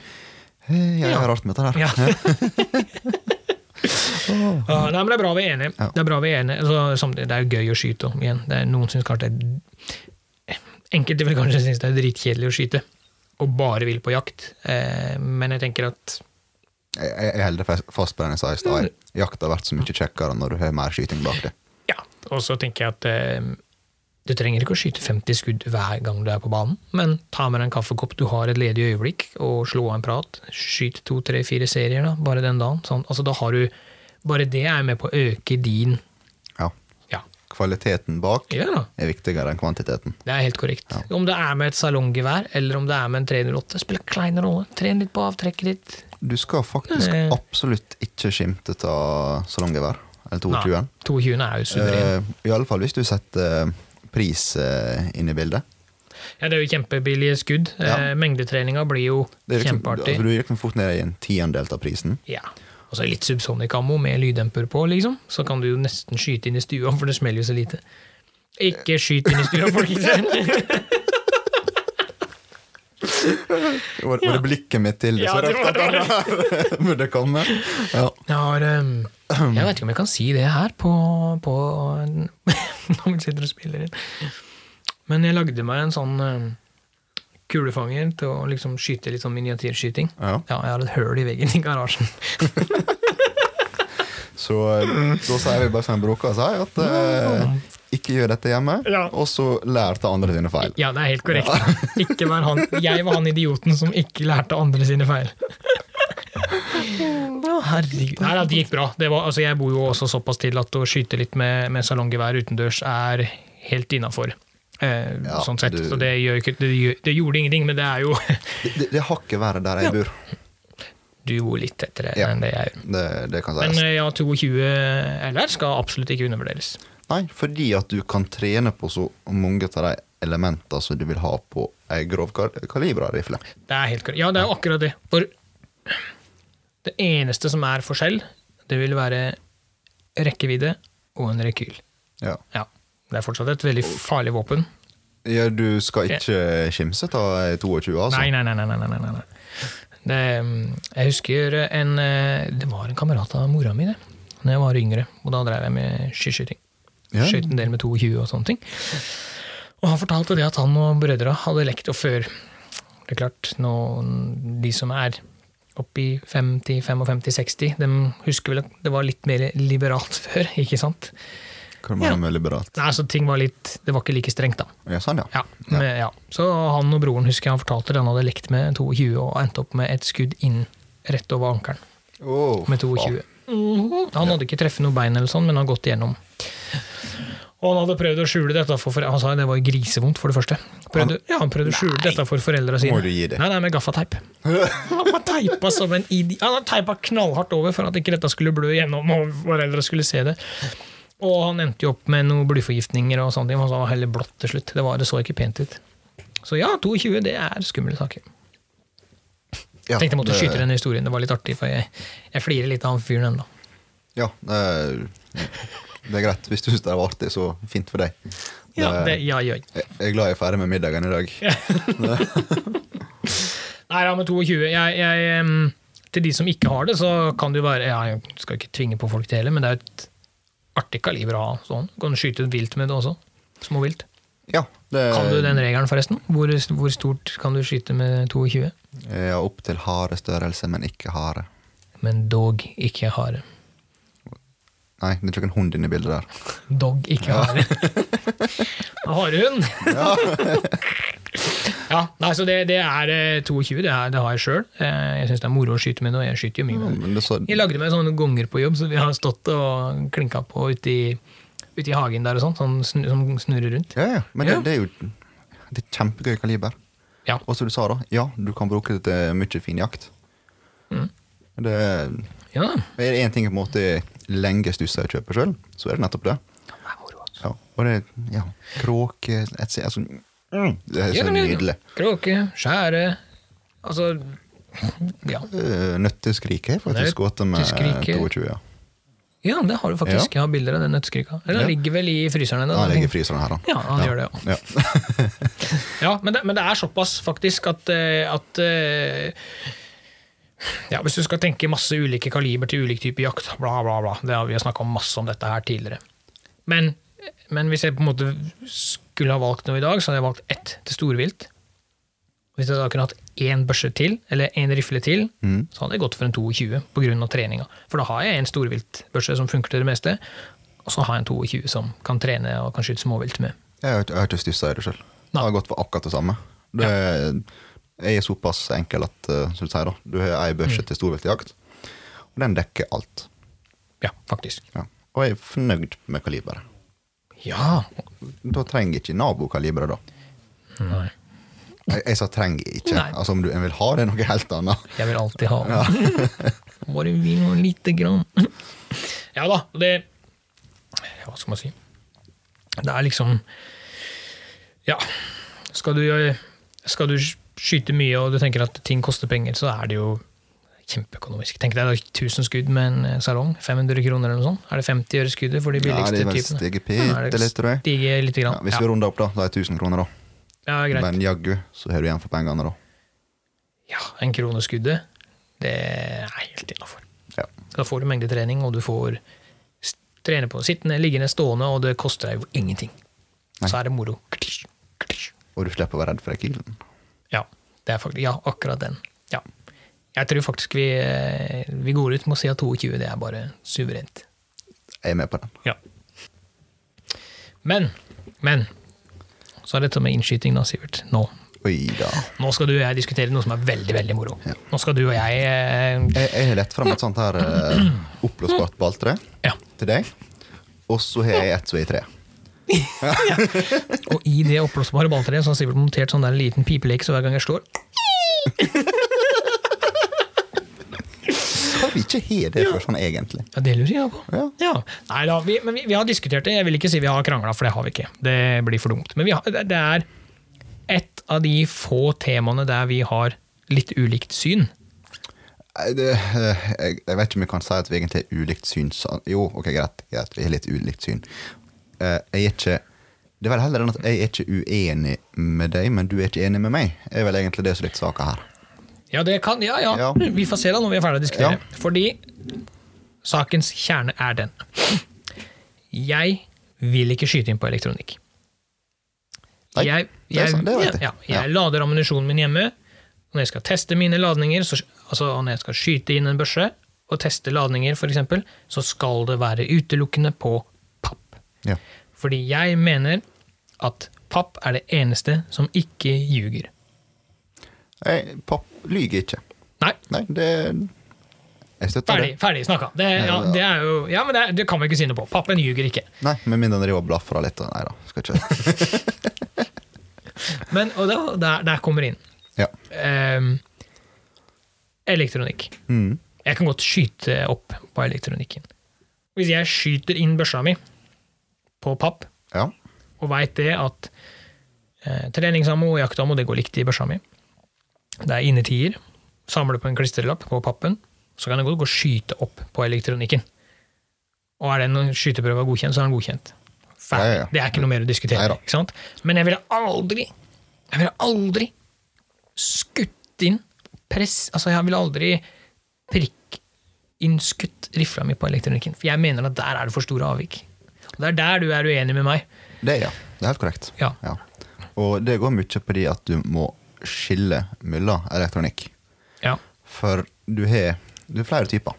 Speaker 2: Eh, Jeg
Speaker 1: Ja.
Speaker 2: har rart med dette her.
Speaker 1: Ja. ja, nei, men det er bra vi er enige.
Speaker 2: Ja.
Speaker 1: Det er bra vi er enige. Så, samtidig, det er jo gøy å skyte også, igjen. Det er, noen synes kanskje det er, enkelte vil kanskje synes det er dritkjedelig å skyte, og bare vil på jakt. Eh, men jeg tenker at
Speaker 2: Jeg, jeg jeg holder fast- fast på den jeg sa i stad.
Speaker 1: Mm.
Speaker 2: Jakta har vært så mye kjekkere når du har mer skyting bak det.
Speaker 1: ja, og så tenker jeg at eh, du trenger ikke å skyte 50 skudd hver gang du er på banen, men ta med deg en kaffekopp, du har et ledig øyeblikk, og slå av en prat. Skyt to, tre, fire serier da, bare den dagen. Sånn. Altså, da har du, bare det er med på å øke din
Speaker 2: Ja.
Speaker 1: ja,
Speaker 2: Kvaliteten bak
Speaker 1: ja da.
Speaker 2: er viktigere enn kvantiteten.
Speaker 1: Det er helt korrekt. Om det er med et salonggevær eller om det er med en 308, spiller klein rolle. Tren litt på avtrekket ditt.
Speaker 2: Du skal faktisk
Speaker 1: Eh.
Speaker 2: absolutt ikke skimte av salonggevær. Eller 22-en.
Speaker 1: 22 er jo suveren.
Speaker 2: Eh, i alle fall hvis du setter pris eh, inn i bildet.
Speaker 1: Ja, det er jo kjempebillige skudd.
Speaker 2: Eh. Ja.
Speaker 1: Eh, Mengdetreninga blir jo
Speaker 2: Det er liksom,
Speaker 1: kjempeartig.
Speaker 2: altså, du gikk liksom fort ned i en tiendedel av prisen.
Speaker 1: Ja. Og så litt subsonic-ammo med lyddemper på, liksom. Så kan du jo nesten skyte inn i stua, for det smeller jo så lite. Ikke skyt inn i stua, folkens!
Speaker 2: Og, og det blikket mitt til
Speaker 1: Ja,
Speaker 2: så
Speaker 1: det var
Speaker 2: rart at han burde komme. Ja.
Speaker 1: Jeg har ehm, Jeg vet ikke om jeg kan si det her på, på når vi sitter og spiller inn. Men jeg lagde meg en sånn ehm, kulefanger til å liksom skyte litt sånn miniatyrskyting.
Speaker 2: Ja.
Speaker 1: Ja, jeg har et høl i veggen i garasjen.
Speaker 2: Så eh, da sier vi bare som Bråka sa, at eh, ikke gjør dette hjemme,
Speaker 1: Ja.
Speaker 2: og så lær ta andre sine feil.
Speaker 1: Ja, det er helt korrekt. Ikke vær han, jeg var han idioten som ikke lærte andre sine feil. Å, herregud. Nei, da, det gikk bra. Det var, altså, jeg bor jo også såpass til at å skyte litt med, med salonggevær utendørs er helt innafor. Eh,
Speaker 2: Ja,
Speaker 1: sånn sett.
Speaker 2: du-
Speaker 1: Så det, gjør ikke, det, gjør, det gjorde ingenting, men det er jo
Speaker 2: Det, det, det har ikke vært der jeg bor.
Speaker 1: Du bor litt tettere
Speaker 2: Ja.
Speaker 1: enn det jeg gjør.
Speaker 2: Det, det kan
Speaker 1: Men
Speaker 2: sies.
Speaker 1: eh, ja, 22 LR skal absolutt ikke undervurderes.
Speaker 2: Nei, fordi at du kan trene på så mange av de elementene som du vil ha på ei grov kal- kalibra rifle.
Speaker 1: Det er helt korrekt. Ja, det er jo akkurat det. For det eneste som er forskjell, det vil være rekkevidde og en rekyl.
Speaker 2: Ja.
Speaker 1: Ja. Det er fortsatt et veldig farlig våpen.
Speaker 2: ja, du skal ikke skimse av ei 22, altså?
Speaker 1: Nei, nei, nei. nei, nei, nei, nei, um, nei. Det, mm, jeg husker en eh, Det var en kamerat av mora mi, det. da jeg var yngre, og da drev jeg med skiskyting.
Speaker 2: Ja.
Speaker 1: Skøyt en del med 22 og sånne ting. Og han fortalte det at han og brødra hadde lekt, og før Det er klart, nå, de som er oppi 50, 55, 60, de husker vel at det var litt mer liberalt før, ikke sant?
Speaker 2: Hva mener du med liberalt?
Speaker 1: Nei, altså ting var litt Det var ikke like strengt, da.
Speaker 2: Ja, sånn, ja.
Speaker 1: Ja, men- ja. Så han og broren husker jeg han fortalte det, han hadde lekt med 22 og endte opp med et skudd inn rett over ankelen
Speaker 2: Åh,
Speaker 1: med 22. Han hadde ikke treffet noe bein, eller sånn, men han hadde gått igjennom. Og han hadde prøvd å skjule dette for foreldre. Han sa jo det var jo grisevondt, for det første. Prøvde, ja, han prøvde å skjule dette for foreldra sine.
Speaker 2: Må du gi det.
Speaker 1: Nei, nei, med gaffateip. Han var teipa som en idi... Han hadde teipa knallhardt over for at ikke dette skulle blø gjennom, og foreldra skulle se det. Og han endte jo opp med noen blyforgiftninger og sånne ting. Han sa det var heller blått til slutt. Det, var, det så ikke pent ut. Så ja, 22, det er skumle saker.
Speaker 2: Ja, Eh,
Speaker 1: Tenkte jeg måtte
Speaker 2: det-
Speaker 1: skyte den historien. Det var litt artig, for jeg, jeg flirer litt av han fyren ennå.
Speaker 2: Ja, det er, det er greit. Hvis du syns det er artig, så fint for deg.
Speaker 1: Ja,
Speaker 2: Det-
Speaker 1: det, ja, ja.
Speaker 2: Jeg jeg er glad jeg er ferdig med middagen i dag.
Speaker 1: Nei, ja, men 22. Jeg, jeg, em, til de som ikke har det, så kan det jo være ja, Jeg skal ikke tvinge på folk det heller, men det er jo et artig kaliber å ha. Sånn. Du kan skyte ut vilt med det også. Småvilt.
Speaker 2: Ja, det,
Speaker 1: Kan du den regelen, forresten? Hvor, hvor stort kan du skyte med 22?
Speaker 2: Ja, opp til hare størrelse, men ikke hare.
Speaker 1: Men dog ikke hare.
Speaker 2: Nei, det er ikke en hund inne i bildet der.
Speaker 1: Dog ikke hare. Harehund!
Speaker 2: Ja.
Speaker 1: Ja, nei, så det, det er eh, 22. Det, er, det har jeg sjøl. Jeg syns det er moro å skyte med det, og jeg skyter jo mye med det.
Speaker 2: Men det er så,
Speaker 1: Jeg lagde meg sånne gonger på jobb, så vi har stått og klinka på ute i, ute i hagen der og sånn, sånn snu- som snurrer rundt.
Speaker 2: ja, ja, men det,
Speaker 1: Ja.
Speaker 2: det er jo det er kjempegøy kaliber.
Speaker 1: Ja.
Speaker 2: Og som du sa, da. Ja, du kan bruke det til mye fin jakt.
Speaker 1: Mm.
Speaker 2: Det er-
Speaker 1: Ja, da.
Speaker 2: er det én ting jeg på en måte lenge stusser jeg kjøper sjøl, så er det nettopp det.
Speaker 1: Det er moro, altså.
Speaker 2: Ja, og det er ja, kråke etc. Altså, mm, det er
Speaker 1: Ja,
Speaker 2: så
Speaker 1: men-
Speaker 2: nydelig.
Speaker 1: Kråke, skjære Altså, ja.
Speaker 2: Eh, Nøtteskrik har jeg faktisk gått med
Speaker 1: Nøtteskriket.
Speaker 2: 22. Ja.
Speaker 1: ja, det har du faktisk. Jeg har bilder av den nøtteskrika. Eller Den
Speaker 2: Ja.
Speaker 1: ligger vel i fryseren ennå.
Speaker 2: Han
Speaker 1: da,
Speaker 2: ligger i
Speaker 1: tenker jeg.
Speaker 2: fryseren her, da.
Speaker 1: Sånn. Ja, han gjør det, ja.
Speaker 2: Ja.
Speaker 1: Ja, men det, men det er såpass, faktisk, at, eh, at eh, ja, Hvis du skal tenke masse ulike kaliber til ulik type jakt, bla, bla, bla det har, Vi har snakka masse om dette her tidligere. Men, men hvis jeg på en måte skulle ha valgt noe i dag, så hadde jeg valgt ett til storvilt. Hvis jeg da kunne hatt én børse til, eller én rifle til, så hadde jeg gått for en 22 pga. treninga. For da har jeg en storviltbørse som funker til det meste, og så har jeg en 22 som kan trene og kan skyte småvilt med.
Speaker 2: Jeg har, ikke- jeg har ikke stussa i det sjøl. Jeg
Speaker 1: Nei.
Speaker 2: har gått for akkurat det samme. Det, Jeg er såpass enkel at eh, som du sier da, du har ei
Speaker 1: Mm.
Speaker 2: børse til storviltjakt, og den dekker alt.
Speaker 1: Ja, faktisk.
Speaker 2: Ja. Og jeg er fornøyd med kaliberet.
Speaker 1: Ja!
Speaker 2: Da trenger jeg ikke nabokaliberet, da. Mm.
Speaker 1: Nei.
Speaker 2: Jeg, jeg sa trenger jeg ikke.
Speaker 1: Nei.
Speaker 2: Altså Om du en vil ha det, er noe helt annet.
Speaker 1: Jeg vil alltid ha den. Bare vin og lite grann. ja da, det ja, Hva skal man si? Det er liksom Ja. Skal du, gjøre- skal du skyte mye og du tenker at ting koster penger, så er det jo kjempeøkonomisk. Tenk deg da 1000 skudd med en eh, salong. 500 kroner eller noe sånt. Er det 50 øre skuddet for de
Speaker 2: Ja,
Speaker 1: billigste
Speaker 2: det er vel
Speaker 1: typene?
Speaker 2: steget
Speaker 1: Ja, er det
Speaker 2: bitte litt, tror jeg.
Speaker 1: Stiger litt
Speaker 2: Ja,
Speaker 1: grann.
Speaker 2: hvis
Speaker 1: Ja,
Speaker 2: vi runder opp, da, da er det 1000 kroner, da.
Speaker 1: ja, greit.
Speaker 2: Men jaggu så har du igjen for pengene, da.
Speaker 1: Ja, en krone skuddet, det er helt innafor.
Speaker 2: Ja.
Speaker 1: Da får du mengdetrening, og du får s- trene på sittende, liggende, stående, og det koster deg jo ingenting.
Speaker 2: Nei.
Speaker 1: Så er det moro. Klisj, klisj.
Speaker 2: Og du slipper å være redd for rekylen.
Speaker 1: Ja, det er faktisk, ja, akkurat den. Ja. Jeg tror faktisk vi, eh, vi går ut med å si at 22, det er bare suverent.
Speaker 2: Jeg er med på den.
Speaker 1: Ja. Men, men Så er det dette med innskyting, da, Sivert. Nå.
Speaker 2: Oi da.
Speaker 1: Nå skal du og jeg diskutere noe som er veldig, veldig moro.
Speaker 2: Ja.
Speaker 1: Nå skal du og jeg eh,
Speaker 2: Jeg, jeg har lett frem et sånt her eh, oppblåsbart balltre
Speaker 1: Ja.
Speaker 2: til deg. Og så har jeg ett som er i tre.
Speaker 1: Og i det oppblåsbare balltreet så har Sivert montert sånn der liten pipeleke, så hver gang jeg slår
Speaker 2: Kan vi ikke ha det for sånn egentlig?
Speaker 1: Ja, det lurer jeg på.
Speaker 2: Ja.
Speaker 1: Nei da, vi, men vi, vi har diskutert det. Jeg vil ikke si vi har krangla, for det har vi ikke. Det blir for dumt. Men vi har, det det er et av de få temaene der vi har litt ulikt syn.
Speaker 2: Nei, Det, eh, jeg, jeg vet ikke om jeg kan si at vi egentlig har ulikt syn. så- Jo, ok, greit, greit vi har litt ulikt syn. Eh, Jeg er ikke Det er vel heller enn at jeg er ikke uenig med deg, men du er ikke enig med meg. er vel egentlig det som er litt saka her.
Speaker 1: Ja, det kan, ja, ja.
Speaker 2: Ja.
Speaker 1: Vi får se da når vi er ferdig å diskutere.
Speaker 2: Ja.
Speaker 1: Fordi Sakens kjerne er den. Jeg vil ikke skyte inn på elektronikk.
Speaker 2: Nei,
Speaker 1: jeg,
Speaker 2: det er sant, det vet jeg.
Speaker 1: ja, ja, jeg lader ammunisjonen min hjemme. Når jeg skal teste mine ladninger, så, altså når jeg skal skyte inn en børse og teste ladninger, for eksempel, så skal det være utelukkende på papp.
Speaker 2: Ja.
Speaker 1: Fordi jeg mener at papp er det eneste som ikke ljuger.
Speaker 2: Jeg, papp lyger ikke.
Speaker 1: Nei,
Speaker 2: Nei, det Jeg støtter
Speaker 1: ferdig, ferdig snakka. Det, ja, det er jo, ja, men det, er- det kan vi ikke si noe på. Pappen ljuger ikke.
Speaker 2: det. Nei, Med mindre han driver og blafrer litt. og Nei da, skal ikke
Speaker 1: Men, og da, der, der kommer det inn.
Speaker 2: Ja.
Speaker 1: Ehm, elektronikk.
Speaker 2: Mm.
Speaker 1: Jeg kan godt skyte opp på elektronikken. Hvis jeg skyter inn børsa mi på papp,
Speaker 2: ja.
Speaker 1: og veit det at eh, treningsammo og jaktammo det går likt i børsa mi. Det er innertier. Samler på en klistrelapp på pappen, så kan jeg godt gå og skyte opp på elektronikken. Og er den skyteprøva godkjent, så er den godkjent. Ferdig.
Speaker 2: Ja, ja, ja.
Speaker 1: Det er ikke noe mer å diskutere.
Speaker 2: Neida.
Speaker 1: Ikke sant? Men jeg ville aldri Jeg ville aldri skutt inn press Altså, jeg ville aldri prikkinnskutt rifla mi på elektronikken. For jeg mener at der er det for store avvik. Og det er der du er uenig med meg.
Speaker 2: Det, ja. Det er helt korrekt.
Speaker 1: Ja.
Speaker 2: Og det går mye på det at du må skille mellom elektronikk.
Speaker 1: Ja.
Speaker 2: For du har, du har flere typer.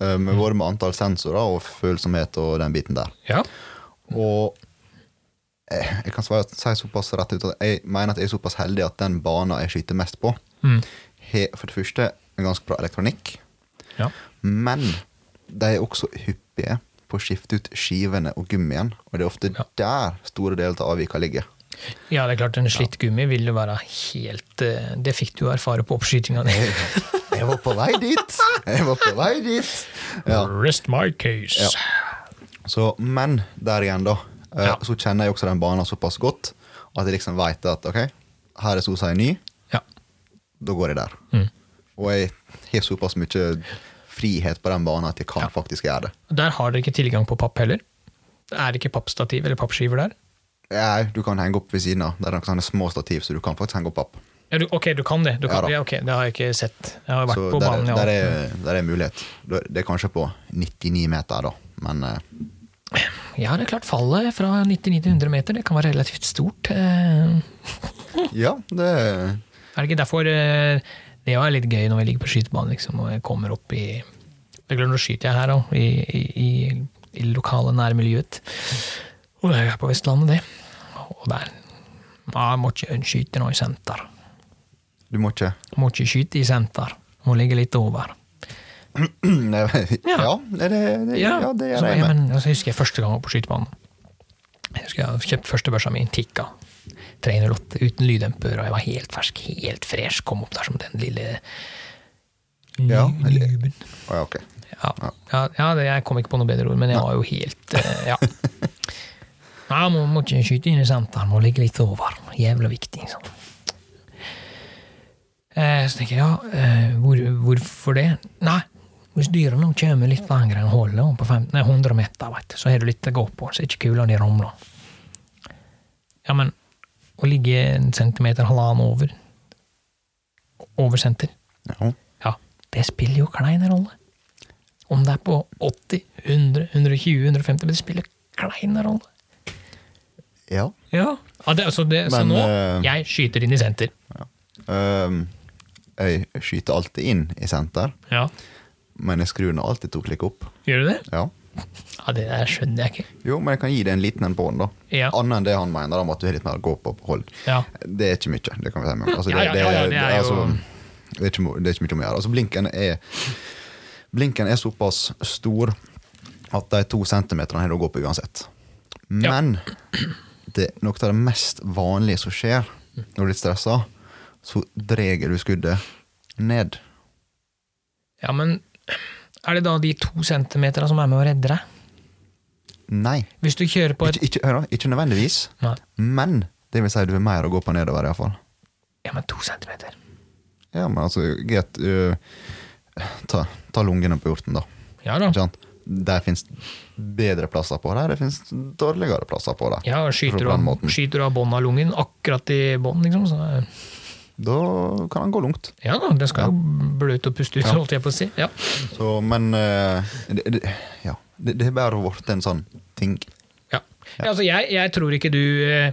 Speaker 2: Eh, Med både med antall sensorer og følsomhet og den biten der.
Speaker 1: Ja.
Speaker 2: Og eh, jeg kan svare, si såpass rett ut at jeg mener at jeg er såpass heldig at den banen jeg skyter mest på, har for det første en ganske bra elektronikk,
Speaker 1: ja.
Speaker 2: men de er også hyppige på å skifte ut skivene og gummien, og det er ofte
Speaker 1: Ja.
Speaker 2: der store deler av avvika ligger.
Speaker 1: det er klart, en slitt gummi vil jo være helt eh, Det fikk du jo erfare på oppskytinga di.
Speaker 2: Jeg var på vei dit! Jeg var på vei dit! Ja.
Speaker 1: Rest my case.
Speaker 2: Så, men der igjen, da. eh,
Speaker 1: Ja.
Speaker 2: Så kjenner jeg også den banen såpass godt at jeg liksom veit at ok, her er så å si ny,
Speaker 1: Ja.
Speaker 2: da går jeg der.
Speaker 1: Mm.
Speaker 2: Og jeg har såpass mye frihet på den banen at jeg kan faktisk gjøre det.
Speaker 1: Der har dere ikke tilgang på papp heller. Det er ikke pappstativ eller pappskiver der.
Speaker 2: Nei, du kan henge opp ved siden av. Det er noen sånne små stativ, så du kan faktisk henge opp papp.
Speaker 1: Ja, du, ok, du kan det. Du
Speaker 2: Ja
Speaker 1: kan,
Speaker 2: da.
Speaker 1: ja, ok, det har jeg ikke sett. Jeg har vært
Speaker 2: Så
Speaker 1: på
Speaker 2: der,
Speaker 1: banen.
Speaker 2: der,
Speaker 1: Ja.
Speaker 2: er, der er mulighet. Da- Det er kanskje på 99 meter, da. Men eh,
Speaker 1: ja, det er klart. Fallet fra 99 til 100 meter det kan være relativt stort. Eh,
Speaker 2: ja, det
Speaker 1: Er det ikke derfor eh, det var litt gøy når vi ligger på skytebanen liksom, og jeg kommer opp i Det er klart, nå skyter jeg her òg, i, i, i, i det lokale nærmiljøet. Og det er jo her på Vestlandet, det. Og der ja, Jeg må ikke skyte nå i senter.
Speaker 2: Du må ikke
Speaker 1: Jeg må ikke skyte i senter. Jeg Må ligge litt over.
Speaker 2: Nei,
Speaker 1: Ja.
Speaker 2: Ja, det, det, ja, det
Speaker 1: så,
Speaker 2: gjør jeg
Speaker 1: ja,
Speaker 2: med.
Speaker 1: men, altså, jeg husker jeg første gang jeg var på skytebanen. Jeg husker jeg hadde kjøpt første børsa mi, en Tikka. 308 uten lyddemper, og jeg var helt fersk, helt fresh. Kom opp der som den lille
Speaker 2: Ja,
Speaker 1: ny-
Speaker 2: eller-
Speaker 1: nyben.
Speaker 2: Å, ja, ok.
Speaker 1: Ja, ja, ja det, jeg kom ikke på noe bedre ord, men jeg var jo helt eh, Ja. Nei, må, må ikke skyte inn i senteren, må ligge litt over. Jævla viktig. Sånn. Eh, så tenker jeg, ja, eh, hvor, hvorfor det? Nei, hvis dyra nå kommer litt lenger enn hullet, og på fem, nei, 100 meter, vet du, så har du litt å gå på, så er ikke kulene de ramler. Ja, men å ligge en centimeter, halvannen over, over senter
Speaker 2: Ja.
Speaker 1: ja, det spiller jo klein rolle. Om det er på 80, 100, 120, 150, men det spiller klein rolle.
Speaker 2: ja.
Speaker 1: Ja, det, altså det, Så
Speaker 2: Men,
Speaker 1: nå,
Speaker 2: eh,
Speaker 1: jeg skyter inn i senter.
Speaker 2: Ehm, jeg skyter alltid inn i senter,
Speaker 1: Ja,
Speaker 2: men jeg skrur nå alltid to klikk opp.
Speaker 1: Gjør du det?
Speaker 2: Ja.
Speaker 1: Ja, Det der skjønner jeg ikke.
Speaker 2: Jo, men jeg kan gi det en liten en på hånden, da.
Speaker 1: Ja.
Speaker 2: Annet enn det han mener om at du har litt mer gå på på hold.
Speaker 1: Ja.
Speaker 2: Det er ikke mye. Det kan vi si med. Altså,
Speaker 1: Ja, ja, ja, ja, det er jo-
Speaker 2: altså, det, er ikke, mo- det er ikke mye om å gjøre. Altså, blinken, er, blinken er såpass stor at de to centimeterne har du å gå på uansett. Men det, noe av det mest vanlige som skjer når du er litt stressa, så dreier du skuddet ned.
Speaker 1: ja, men er det da de to centimeterne som er med å redde deg?
Speaker 2: Nei.
Speaker 1: Hvis du kjører på et
Speaker 2: Ikke, ikke, hør da, ikke nødvendigvis,
Speaker 1: Nei.
Speaker 2: men det vil si du har mer å gå på nedover, iallfall.
Speaker 1: Ja, men to centimeter.
Speaker 2: Ja, men altså, greit øh, ta, ta lungene på hjorten, da.
Speaker 1: Ja da.
Speaker 2: Ikke sant? Der fins bedre plasser på det, det fins dårligere plasser på det.
Speaker 1: Ja, og skyter
Speaker 2: På
Speaker 1: du,
Speaker 2: den
Speaker 1: av,
Speaker 2: måten.
Speaker 1: skyter du av bånd av lungen, akkurat i bånd, liksom, så
Speaker 2: da kan han gå langt.
Speaker 1: Ja da, det skal jo bløte og puste ut,
Speaker 2: Ja.
Speaker 1: holdt jeg på å si. Ja.
Speaker 2: Så, men eh, det, det, ja, det, det er bare blitt en sånn ting.
Speaker 1: Ja. Ja, altså, jeg, jeg tror ikke du eh,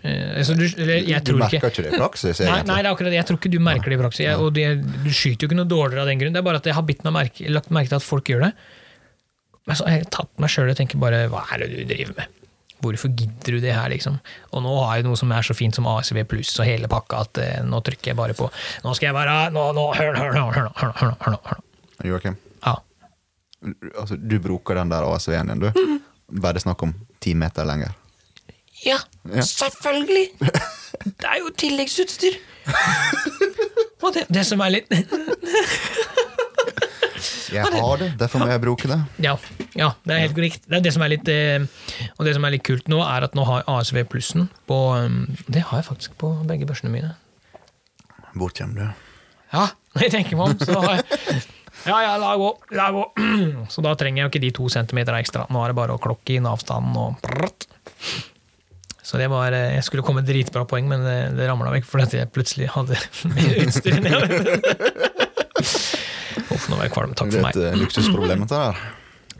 Speaker 1: eh, altså, du, eller, jeg
Speaker 2: du
Speaker 1: tror
Speaker 2: merker
Speaker 1: ikke
Speaker 2: ikke det i praksis,
Speaker 1: Nei,
Speaker 2: egentlig.
Speaker 1: nei, det er akkurat det. Jeg tror ikke du merker det i praksis. Jeg, og det, du skyter jo ikke noe dårligere av den grunn. Det er bare at jeg har bitt meg merke, lagt merke til at folk gjør det. Men så har jeg tatt meg sjøl og tenker bare hva er det du driver med? Hvorfor gidder du det her, liksom? Og nå har jeg noe som er så fint som ASV pluss og hele pakka at eh, nå trykker jeg bare på. Nå skal jeg være Nå, nå, hør, nå, hør, nå, hør, nå, hør, nå, hør, nå, hør, nå, hør, nå.
Speaker 2: Joakim,
Speaker 1: Ja.
Speaker 2: altså, du bruker den der ASV-en din, du. Bare snakk om ti meter lenger.
Speaker 1: Ja,
Speaker 2: Ja.
Speaker 1: selvfølgelig! Det er jo tilleggsutstyr! Og det, det som er litt
Speaker 2: Jeg har det, derfor må jeg bruke det.
Speaker 1: Ja, ja det er helt korrekt. Det er det som er litt eh, Og det som er litt kult nå, er at nå har ASV plussen på eh, Det har jeg faktisk på begge børsene mine.
Speaker 2: Hvor kommer du?
Speaker 1: Ja, når jeg tenker meg om, så har jeg Ja, ja, la gå, la gå. Så da trenger jeg jo ikke de to centimeterne ekstra. Nå er det bare å klokke inn avstanden og prrrt. Så det var eh, Jeg skulle komme med dritbra poeng, men det, det ramla vekk fordi at jeg plutselig hadde mer utstyr enn jeg hadde. Uff, nå var jeg kvalm. Takk
Speaker 2: Det er
Speaker 1: for meg.
Speaker 2: et eh, luksusproblem, dette der.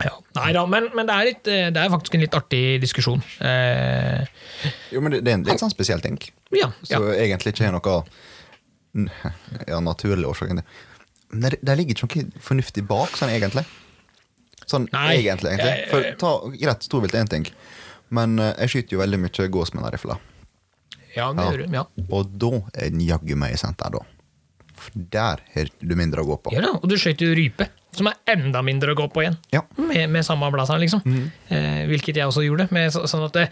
Speaker 1: Ja. Nei da, men, men det, er litt, eh, det er faktisk en litt artig diskusjon. Eh,
Speaker 2: Jo, men det, det er en litt sånn spesiell ting.
Speaker 1: ja,
Speaker 2: Så
Speaker 1: ja.
Speaker 2: egentlig ikke er noe n- ja, naturlig årsak til det. Men det- det ligger ikke noe fornuftig bak, sånn egentlig. Sånn
Speaker 1: Nei. Eh,
Speaker 2: egentlig, egentlig.
Speaker 1: Jeg-
Speaker 2: For ta, greit, storvilt er én ting, men eh, jeg skyter jo veldig mye gås med den rifla.
Speaker 1: ja,
Speaker 2: Ja.
Speaker 1: det gjør du. Ja.
Speaker 2: Og da er den jaggu meg i senter, da. For der har du mindre å gå på.
Speaker 1: Ja da, og du skjøt jo rype, som er enda mindre å gå på igjen.
Speaker 2: Ja. Mm.
Speaker 1: Med, med samme blazeren, liksom. Eh, hvilket jeg også gjorde. Med, så, sånn at det,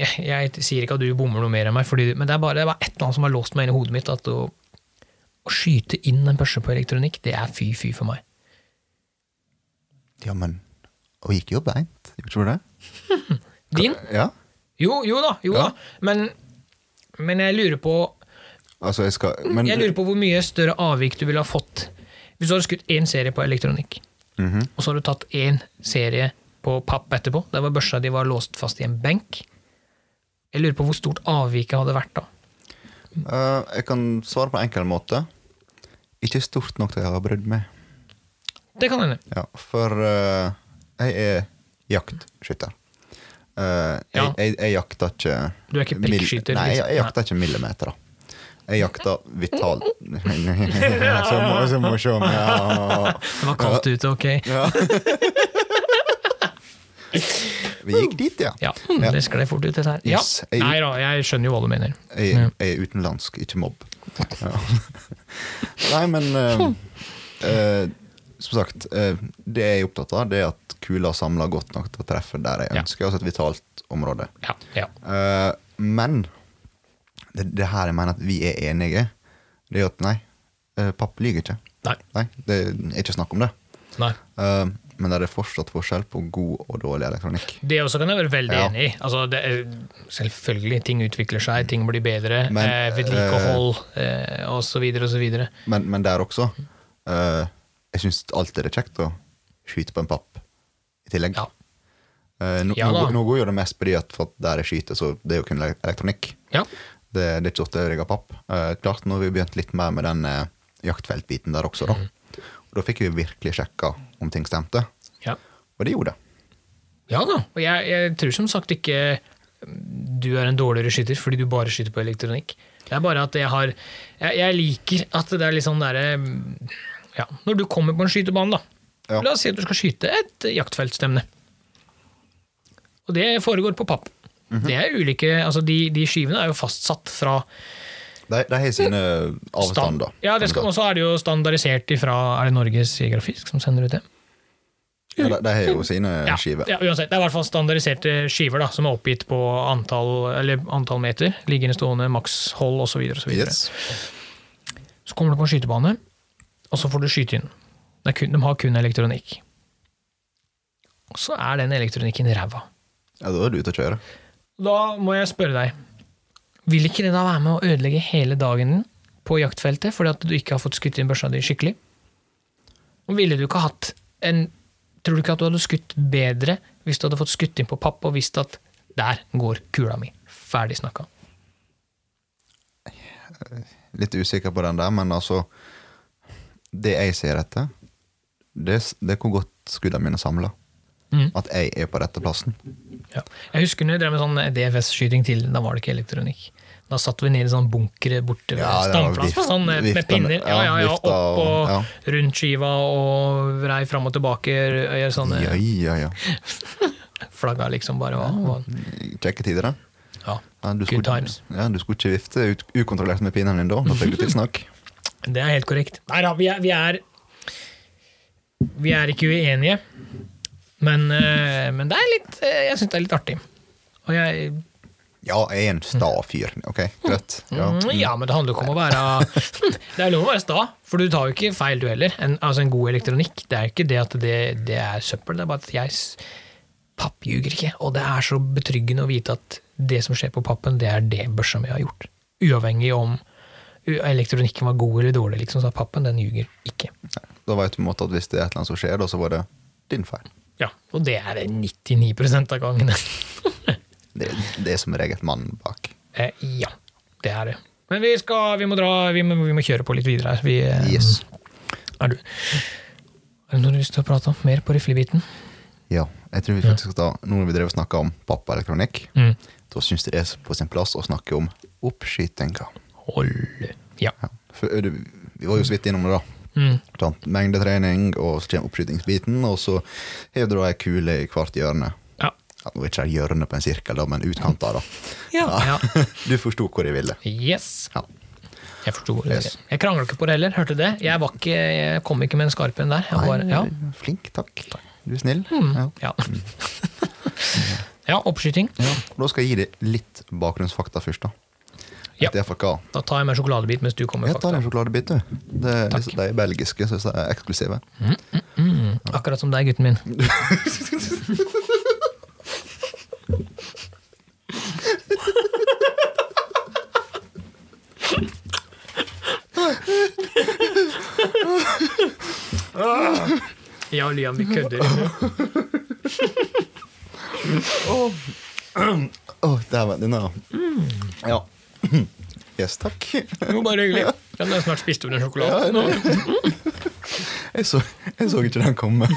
Speaker 1: jeg, jeg sier ikke at du bommer noe mer enn meg, fordi, men det er bare det var et eller annet som har låst meg inn i hodet mitt. At å, å skyte inn en børse på elektronikk, det er fy-fy for meg.
Speaker 2: Ja, men Og gikk jo beint, gjorde ikke du det?
Speaker 1: Din?
Speaker 2: Ja.
Speaker 1: Jo, jo da, jo
Speaker 2: Ja.
Speaker 1: da. Men, men jeg lurer på
Speaker 2: Altså, jeg skal Men
Speaker 1: Jeg lurer på hvor mye større avvik du ville ha fått hvis du hadde skutt én serie på elektronikk,
Speaker 2: Mhm.
Speaker 1: og så hadde du tatt én serie på papp etterpå. Der var børsa di var låst fast i en benk. Jeg lurer på hvor stort avviket hadde vært da.
Speaker 2: Eh, jeg kan svare på en enkel måte. Ikke stort nok til å ha brydd meg.
Speaker 1: Det kan hende.
Speaker 2: Ja, for eh, jeg er jaktskytter. Eh, jeg,
Speaker 1: Ja.
Speaker 2: jeg, jeg jakter ikke
Speaker 1: Du er ikke
Speaker 2: mill-
Speaker 1: prikkskyter,
Speaker 2: Nei, jeg,
Speaker 1: liksom.
Speaker 2: jeg jakter ikke millimeter. Jeg jakter vital Så må så må jeg se om ja.
Speaker 1: Det var kaldt ute, ok?
Speaker 2: ja. Vi gikk dit, ja.
Speaker 1: Ja, hm, det sklei fort ut, dette her. Ja.
Speaker 2: Yes, jeg-
Speaker 1: Nei da, jeg skjønner jo hva du mener.
Speaker 2: Jeg, jeg er utenlandsk, ikke mobb. Ja. Nei, men eh, eh, Som sagt, eh, det jeg er opptatt av, det er at kula samler godt nok til å treffe der jeg
Speaker 1: Ja.
Speaker 2: ønsker. Altså et vitalt område.
Speaker 1: Ja, ja.
Speaker 2: Eh, men det, det her jeg mener at vi er enige, det er at nei, eh, papp lyver ikke.
Speaker 1: Nei.
Speaker 2: Nei, Det er ikke snakk om det.
Speaker 1: Nei.
Speaker 2: Eh, men det er fortsatt forskjell på god og dårlig elektronikk.
Speaker 1: Det også kan jeg være veldig
Speaker 2: Ja.
Speaker 1: enig i. Altså, det er, selvfølgelig, ting utvikler seg, ting blir bedre.
Speaker 2: Men,
Speaker 1: eh, vedlikehold eh, og så videre og så videre.
Speaker 2: Men, men der også eh, Jeg syns alltid det er kjekt å skyte på en papp i tillegg.
Speaker 1: Ja.
Speaker 2: Eh, nå,
Speaker 1: Ja
Speaker 2: nå,
Speaker 1: da.
Speaker 2: nå går jo det mest fordi at for at der jeg skyter, så det er jo kun elek- elektronikk.
Speaker 1: Ja.
Speaker 2: Det, det er ikke ofte jeg rigger papp. Eh, klart nå har vi begynt litt mer med den eh, jaktfeltbiten der også, da.
Speaker 1: Mm.
Speaker 2: Og da fikk vi virkelig sjekka om ting stemte.
Speaker 1: ja.
Speaker 2: Og det gjorde det.
Speaker 1: Ja da, og jeg, jeg tror som sagt ikke mm, du er en dårligere skytter fordi du bare skyter på elektronikk. Det er bare at jeg har Jeg, jeg liker at det er litt sånn derre Ja, når du kommer på en skytebane, da.
Speaker 2: Ja.
Speaker 1: La oss si at du skal skyte et jaktfeltstemne. Og det foregår på papp. Det er ulike Altså, de, de skivene er jo fastsatt fra
Speaker 2: De, de har sine avstander.
Speaker 1: Ja, det skal, Og så er det jo standardisert ifra Er det Norges Geografisk som sender ut det?
Speaker 2: Ja, de, de har jo sine
Speaker 1: Ja,
Speaker 2: skiver.
Speaker 1: Ja, uansett. Det er i hvert fall standardiserte skiver da, som er oppgitt på antall, eller antall meter. Liggende stående, makshold osv. Så, videre, og så, videre.
Speaker 2: Yes.
Speaker 1: så kommer du på en skytebane, og så får du skyte inn. Det er kun, de har kun elektronikk. Og så er den elektronikken ræva.
Speaker 2: Ja, da er du ute å kjøre.
Speaker 1: Da må jeg spørre deg, vil ikke det da være med å ødelegge hele dagen din på jaktfeltet fordi at du ikke har fått skutt inn børsa di skikkelig? Og ville du ikke hatt en Tror du ikke at du hadde skutt bedre hvis du hadde fått skutt inn på papp og visst at der går kula mi. Ferdig snakka.
Speaker 2: litt usikker på den der, men altså Det jeg ser etter, det, s- det er hvor godt skuddene mine samler.
Speaker 1: Mhm.
Speaker 2: At jeg er på rette plassen.
Speaker 1: Ja. Jeg husker når jeg drev med sånn DFS-skyting til, da var det ikke elektronikk. Da satt vi nede i sånn bunkere borte ved
Speaker 2: Ja, det var
Speaker 1: standplass med,
Speaker 2: vift-
Speaker 1: sånn, eh, med
Speaker 2: vifta-
Speaker 1: pinner. Ja, ja,
Speaker 2: ja,
Speaker 1: ja,
Speaker 2: vifta
Speaker 1: opp og,
Speaker 2: og-
Speaker 1: rundt skiva og vrei fram og tilbake. Gjør sånne
Speaker 2: Ja, ja, ja.
Speaker 1: flagga liksom bare var, var
Speaker 2: Kjekke tider, da.
Speaker 1: ja.
Speaker 2: Ja, du skulle,
Speaker 1: Good times.
Speaker 2: ja, du skulle ikke vifte ut, ukontrollert med pinnen din da. Da fikk du tilsnakk.
Speaker 1: Det er helt korrekt. Nei da, vi er Vi er, vi er ikke uenige, men, eh, men det er litt eh, Jeg syns det er litt artig. Og jeg
Speaker 2: Ja, jeg er en sta fyr. Ok, greit. Ja.
Speaker 1: Mm, Ja, men det handler jo ikke om å være Det er lov å være sta, for du tar jo ikke feil, du heller. En, altså en god elektronikk. Det er jo ikke det at det, det er søppel, det er bare at jeg s- pappjuger ikke. Og det er så betryggende å vite at det som skjer på pappen, det er det børsa mi har gjort. Uavhengig om u- elektronikken var god eller dårlig, liksom, så er pappen den ljuger ikke.
Speaker 2: Da vet du på en måte at hvis det er et eller annet som skjer, da, så var det din feil.
Speaker 1: Ja, Og det er det 99 av gangene.
Speaker 2: Det, det er som regel mannen bak.
Speaker 1: Eh, ja, det er det. Men vi, skal, vi, må dra, vi, må, vi må kjøre på litt videre her. Vi, eh,
Speaker 2: Yes.
Speaker 1: Er du Er det noe du har lyst til å prate om? Mer på riflebiten?
Speaker 2: Ja, jeg tror vi faktisk skal ta Nå når vi drev og snakka om pappaelektronikk,
Speaker 1: Mm.
Speaker 2: da syns jeg det er på sin plass å snakke om oppskytinga.
Speaker 1: Hold Ja.
Speaker 2: Ja. For, ø, det- Vi var jo så vidt innom det, da.
Speaker 1: Mm.
Speaker 2: Sant? Mengdetrening, og så kommer oppskytingsbiten, og så har du da ei kule i hvert hjørne.
Speaker 1: Ja.
Speaker 2: Ja, nå er ikke det hjørnet på en sirkel, da, men utkanta, da.
Speaker 1: Ja.
Speaker 2: Du forsto hvor jeg ville.
Speaker 1: Yes.
Speaker 2: Ja.
Speaker 1: Jeg forsto det.
Speaker 2: Yes.
Speaker 1: Jeg krangla ikke på det heller, hørte du det? Jeg, var ikke, jeg kom ikke med en skarp en der. Jeg bare, ja. Hmm.
Speaker 2: Flink, takk. Du er snill. Ja.
Speaker 1: Ja. ja, oppskyting.
Speaker 2: Da skal jeg gi deg litt bakgrunnsfakta først. da.
Speaker 1: Ja.
Speaker 2: Det er for hva?
Speaker 1: Da tar jeg meg en sjokoladebit mens du kommer
Speaker 2: Jeg
Speaker 1: med
Speaker 2: tar
Speaker 1: fakta.
Speaker 2: en sjokoladebit, du. Det er- De er belgiske, så de er eksklusive.
Speaker 1: Mm. Akkurat som deg, gutten min. Ja, Liam, vi kødder.
Speaker 2: Åh, dæven, denne.
Speaker 1: Hmm.
Speaker 2: Ja. Yes, takk.
Speaker 1: Jo, bare hyggelig. Ja, nå har jeg snart spist opp den sjokoladen.
Speaker 2: Ja, det- jeg, så, jeg så ikke den komme.